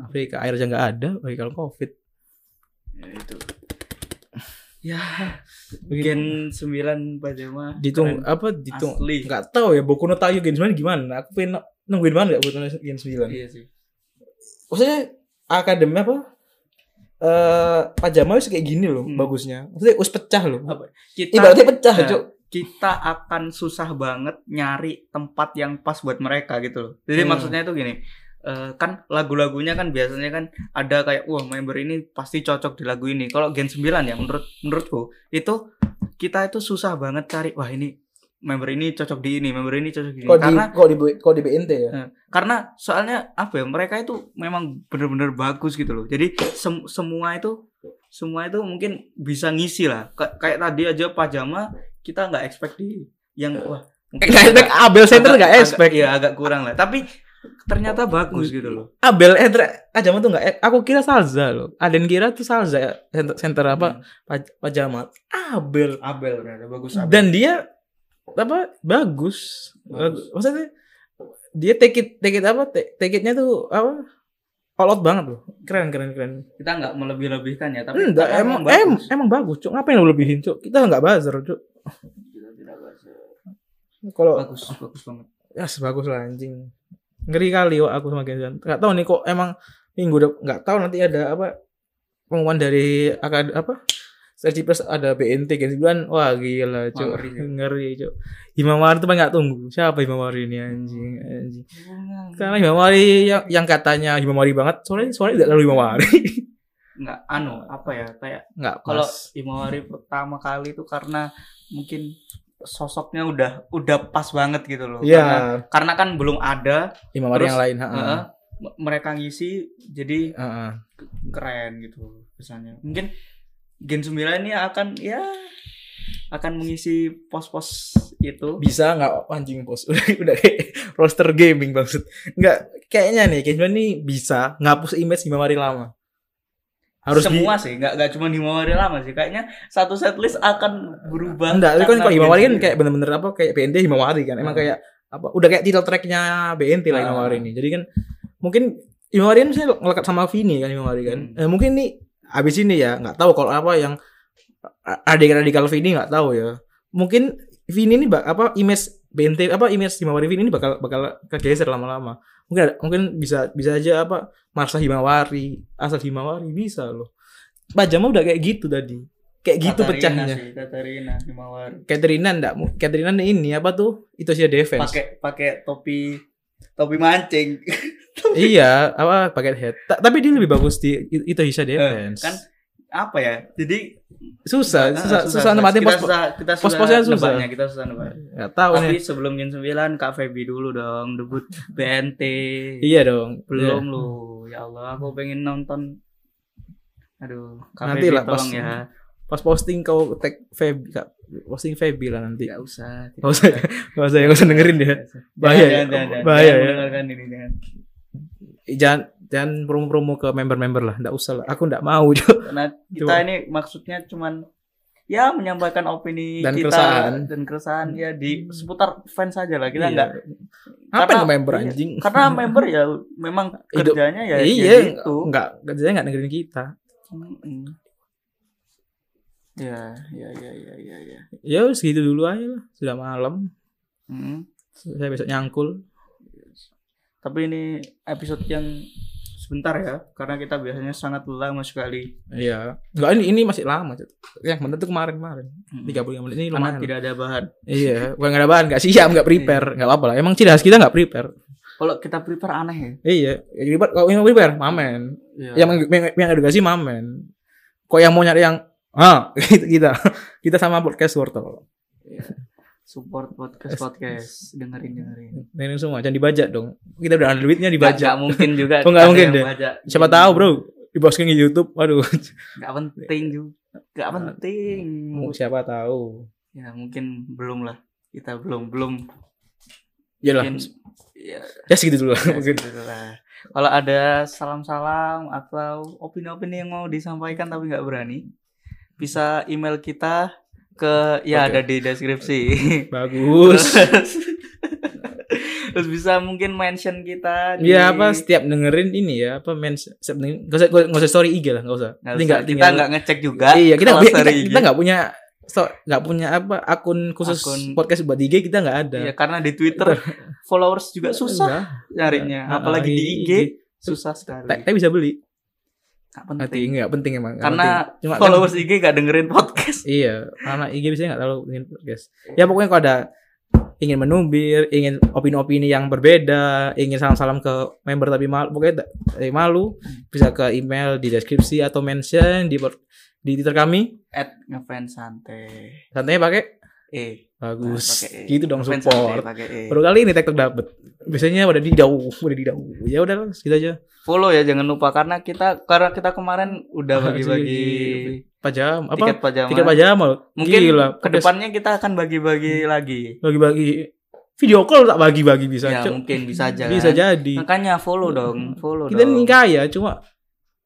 Speaker 2: Afrika air aja nggak ada pakai kalung covid
Speaker 1: Ya, itu. Ya, Gen 9 Pajama.
Speaker 2: ditung
Speaker 1: keren.
Speaker 2: apa ditung
Speaker 1: Asli.
Speaker 2: nggak tahu ya Boku no Tayo Gen 9 gimana aku pengen nungguin banget nggak Boku no Gen 9
Speaker 1: Iya sih.
Speaker 2: maksudnya akademi apa eh pajama wis kayak gini loh
Speaker 1: Hmm.
Speaker 2: bagusnya maksudnya us pecah loh
Speaker 1: Apa? Kita
Speaker 2: ibaratnya pecah
Speaker 1: Nah,
Speaker 2: cuk
Speaker 1: kita akan susah banget nyari tempat yang pas buat mereka gitu loh. Jadi
Speaker 2: Hmm.
Speaker 1: maksudnya itu gini, eh, kan lagu-lagunya kan biasanya kan ada kayak wah member ini pasti cocok di lagu ini. Kalau Gen 9 ya menurut menurutku itu kita itu susah banget cari wah ini member ini cocok di ini, member ini cocok di ini.
Speaker 2: kok di
Speaker 1: Karena
Speaker 2: kok di kok di BNT ya
Speaker 1: karena soalnya apa ya mereka itu memang bener-bener bagus gitu loh jadi sem- semua itu semua itu mungkin bisa ngisi lah Ka- kayak tadi aja pajama kita nggak expect di yang wah mungkin
Speaker 2: nggak expect Abel Center
Speaker 1: agak-
Speaker 2: nggak Eh,
Speaker 1: agak-
Speaker 2: expect
Speaker 1: iya agak kurang lah tapi ternyata bagus gitu loh
Speaker 2: Abel eh, Center Ajama Ah, tuh nggak eh, aku kira Salza loh ada yang kira tuh Salza eh, center, center apa Paj- pajama Abel
Speaker 1: Hmm. Abel ternyata bagus Abel
Speaker 2: dan dia apa bagus,
Speaker 1: Bagus.
Speaker 2: Bagus. maksudnya dia take it take it apa take, take it-nya tuh apa all out banget loh keren keren keren
Speaker 1: kita nggak melebih-lebihkan ya tapi
Speaker 2: enggak
Speaker 1: karena
Speaker 2: emang
Speaker 1: bagus.
Speaker 2: em, emang bagus cuk ngapain lo lebihin cuk kita nggak buzzer cuk
Speaker 1: Kita tidak bagus.
Speaker 2: kalau
Speaker 1: bagus bagus banget
Speaker 2: ya sebagus lah anjing ngeri kali wak aku sama Genzan nggak tahu nih kok emang minggu dep- nggak tahu nanti ada apa pengumuman dari akad apa Sergi Plus ada BNT Gen 9 wah gila cuk
Speaker 1: Ngeri, ya.
Speaker 2: ngeri, cuk Himawari tuh banyak tunggu siapa Himawari ini anjing
Speaker 1: Hmm.
Speaker 2: anjing karena Himawari yang yang katanya Himawari banget soalnya soalnya tidak terlalu Himawari
Speaker 1: nggak anu apa ya kayak
Speaker 2: nggak
Speaker 1: kalau
Speaker 2: pas.
Speaker 1: Imawari pertama kali itu karena mungkin sosoknya udah udah pas banget gitu loh
Speaker 2: Iya, Ah.
Speaker 1: karena, karena kan belum ada
Speaker 2: Himawari
Speaker 1: terus,
Speaker 2: yang lain, heeh.
Speaker 1: eh, m- mereka ngisi jadi
Speaker 2: Heeh.
Speaker 1: keren gitu pesannya mungkin Gen 9 ini akan ya akan mengisi pos-pos itu
Speaker 2: Bisa nggak oh, anjing bos? Udah udah kayak roster gaming maksud. Nggak kayaknya nih, kayaknya nih bisa ngapus image Himawari lama. Harus di-
Speaker 1: semua sih nggak nggak cuma Himawari lama sih kayaknya satu setlist akan berubah
Speaker 2: Enggak, itu kan
Speaker 1: karena
Speaker 2: kalau Himawari kan
Speaker 1: Gen
Speaker 2: kayak bener-bener apa kayak BNT Himawari kan. Emang
Speaker 1: Hmm.
Speaker 2: kayak apa udah kayak title tracknya BNT lah
Speaker 1: Ah.
Speaker 2: Himawari ini. Jadi kan mungkin Himawari kan saya ngelekat sama Vini kan Himawari kan.
Speaker 1: Hmm.
Speaker 2: Eh, mungkin nih abis ini ya nggak tahu kalau apa yang radikal-radikal Vini nggak tahu ya. Mungkin Vini ini bak- apa image BNT apa image Himawari Vini ini bakal bakal kegeser lama-lama. Mungkin ada- mungkin bisa bisa aja apa Marsa Himawari, asal Himawari bisa loh. Pajama udah kayak gitu tadi. Kayak gitu
Speaker 1: Katarina
Speaker 2: pecahnya.
Speaker 1: sih, Katarina Himawari
Speaker 2: Katerina enggak mu- Katerina ini apa tuh? Itu sih defense.
Speaker 1: pakai pakai topi topi mancing
Speaker 2: Iya, apa pakai head. Ta- tapi dia lebih bagus di itu Hisha defense.
Speaker 1: kan apa ya jadi ah,
Speaker 2: susah, Eh, susah, susah nempatin
Speaker 1: kita
Speaker 2: pos.
Speaker 1: susah, kita susah
Speaker 2: pos-posnya susah.
Speaker 1: nebaknya, kita susah nebak
Speaker 2: Enggak tahu
Speaker 1: tapi
Speaker 2: nih.
Speaker 1: sebelum Gen 9 Kak Febi dulu dong debut BNT
Speaker 2: Iya dong.
Speaker 1: belum lu ya Allah aku pengen nonton aduh Kak
Speaker 2: Nanti
Speaker 1: Febi
Speaker 2: lah, pas-
Speaker 1: tolong ya
Speaker 2: Iya. Pas posting kau tag Feb, Kak. posting Febi lah nanti.
Speaker 1: Gak usah.
Speaker 2: Gak usah,
Speaker 1: Tidak
Speaker 2: gak usah, gak usah dengerin dia.
Speaker 1: Jangan,
Speaker 2: Bahaya ya.
Speaker 1: Jangan, jangan, jangan.
Speaker 2: Bahaya
Speaker 1: Jangan
Speaker 2: ya.
Speaker 1: mendengarkan ini jangan.
Speaker 2: Jangan jangan promo-promo ke member-member lah, enggak usah lah. Aku enggak mau. Jo.
Speaker 1: Karena Nah, kita
Speaker 2: Coba.
Speaker 1: ini maksudnya cuman ya menyampaikan opini
Speaker 2: Dan
Speaker 1: kita
Speaker 2: keresahan.
Speaker 1: dan keresahan ya di seputar fans saja lah Nah, kita
Speaker 2: Iya.
Speaker 1: enggak
Speaker 2: Apa
Speaker 1: Karena-
Speaker 2: yang member
Speaker 1: iya.
Speaker 2: anjing?
Speaker 1: karena member ya memang
Speaker 2: Hidup.
Speaker 1: kerjanya ya, ya
Speaker 2: iya,
Speaker 1: gitu.
Speaker 2: enggak, kerjanya enggak dengerin kita.
Speaker 1: Mm-mm. Ya, ya, ya, ya, ya, ya.
Speaker 2: Ya wes gitu dulu aja lah. Sudah malam.
Speaker 1: Mm.
Speaker 2: Saya besok nyangkul.
Speaker 1: Tapi ini episode yang sebentar ya, karena kita biasanya sangat lama sekali.
Speaker 2: Iya. Enggak ini ini masih lama, Cet. Yang bener tuh kemarin-kemarin.
Speaker 1: Mm.
Speaker 2: 35 menit ini
Speaker 1: Karena
Speaker 2: lumayan.
Speaker 1: tidak ada bahan.
Speaker 2: Iya, bukan enggak ada bahan, enggak siap, enggak prepare, enggak apa-apa lah. Emang ciri khas kita enggak prepare.
Speaker 1: Kalau kita prepare aneh ya.
Speaker 2: Iya, ya, jadi buat- kalau yang prepare mamen.
Speaker 1: Iya.
Speaker 2: Yang meng- yang, yang edukasi mamen. Kok yang mau nyari yang ah gitu kita. Kita sama podcast wortel.
Speaker 1: support podcast podcast dengerin dengerin
Speaker 2: Ini semua jangan dibajak dong. Kita udah ada duitnya
Speaker 1: Nggak
Speaker 2: dibajak.
Speaker 1: mungkin juga
Speaker 2: Oh, nggak
Speaker 1: ada
Speaker 2: mungkin
Speaker 1: yang
Speaker 2: deh.
Speaker 1: baca.
Speaker 2: Siapa tahu, Bro. Diposting di YouTube. Waduh.
Speaker 1: nggak penting juga nggak penting
Speaker 2: Siapa tahu.
Speaker 1: ya mungkin belum lah kita belum belum
Speaker 2: Yalah,
Speaker 1: mungkin ya,
Speaker 2: ya segitu dulu lah.
Speaker 1: ya
Speaker 2: Mungkin.
Speaker 1: gitu lah. kalau ada salam salam atau opini-opini yang mau disampaikan tapi nggak berani bisa email kita ke ya
Speaker 2: Oke.
Speaker 1: ada di deskripsi
Speaker 2: Bagus.
Speaker 1: terus terus bisa mungkin mention kita di-
Speaker 2: Iya apa setiap dengerin ini ya apa men setiap dengerin nggak usah nggak usah story IG lah nggak usah.
Speaker 1: Nggak
Speaker 2: Nanti
Speaker 1: usah,
Speaker 2: nggak
Speaker 1: kita
Speaker 2: tinggal-
Speaker 1: nggak ngecek juga
Speaker 2: Iya
Speaker 1: kalau gitu.
Speaker 2: kita nggak kita,
Speaker 1: story
Speaker 2: kita
Speaker 1: IG.
Speaker 2: nggak punya so nggak punya apa akun khusus
Speaker 1: Akun-
Speaker 2: podcast buat IG kita nggak ada.
Speaker 1: Iya karena di Twitter followers juga susah nyarinya,
Speaker 2: Nah,
Speaker 1: apalagi di IG susah
Speaker 2: Tag
Speaker 1: sekali.
Speaker 2: tag bisa beli.
Speaker 1: Nggak
Speaker 2: Nanti
Speaker 1: penting.
Speaker 2: nggak penting emang. nggak
Speaker 1: Karena
Speaker 2: penting. Cuma kan-
Speaker 1: followers IG gak dengerin podcast.
Speaker 2: iya karena IG biasanya nggak terlalu ingin podcast. Ya pokoknya kalau ada ingin menumbir, ingin opini-opini yang berbeda, ingin salam-salam ke member tapi malu, pokoknya eh, malu bisa ke email di deskripsi atau mention di per- di Twitter kami.
Speaker 1: At ngefans santai.
Speaker 2: Santainya pakai
Speaker 1: Eh,
Speaker 2: bagus.
Speaker 1: pakai E.
Speaker 2: gitu dong
Speaker 1: ngefans
Speaker 2: support.
Speaker 1: santai pakai E.
Speaker 2: Baru kali ini TikTok dapet. Biasanya udah di dau, udah di dau. Ya udah lah, segitu aja.
Speaker 1: Follow ya jangan lupa karena kita karena kita kemarin udah
Speaker 2: Ah,
Speaker 1: bagi-bagi
Speaker 2: Pajam iya, apa?
Speaker 1: tiket pajama.
Speaker 2: Tiket pajam loh.
Speaker 1: Mungkin
Speaker 2: Gila, pedes. Hmm.
Speaker 1: Kedepannya kita akan bagi-bagi lagi.
Speaker 2: bagi-bagi video call tak bagi-bagi bisa.
Speaker 1: Ya
Speaker 2: Cuk.
Speaker 1: mungkin bisa aja.
Speaker 2: Bisa
Speaker 1: kan.
Speaker 2: jadi.
Speaker 1: Makanya follow dong, follow
Speaker 2: Hmm. Kita
Speaker 1: dong.
Speaker 2: ini kaya cuma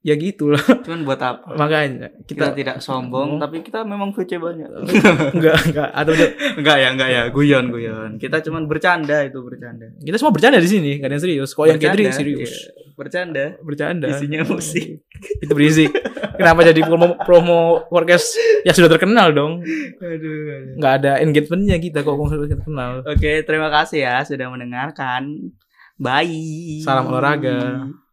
Speaker 2: ya gitulah
Speaker 1: Cuman buat apa?
Speaker 2: makanya
Speaker 1: kita,
Speaker 2: kita
Speaker 1: tidak sombong
Speaker 2: Oh.
Speaker 1: tapi kita memang VC banyak
Speaker 2: enggak enggak atau
Speaker 1: enggak ya enggak ya guyon guyon kita cuman bercanda itu bercanda
Speaker 2: kita semua bercanda di sini gak ada yang serius kalau yang
Speaker 1: Bercanda,
Speaker 2: Katri serius
Speaker 1: iya. bercanda
Speaker 2: bercanda
Speaker 1: isinya musik
Speaker 2: itu berisik kenapa jadi promo promo podcast ya sudah terkenal dong
Speaker 1: aduh, aduh.
Speaker 2: nggak ada engagementnya kita kok ngomong terkenal
Speaker 1: oke terima kasih ya sudah mendengarkan bye
Speaker 2: Salam olahraga.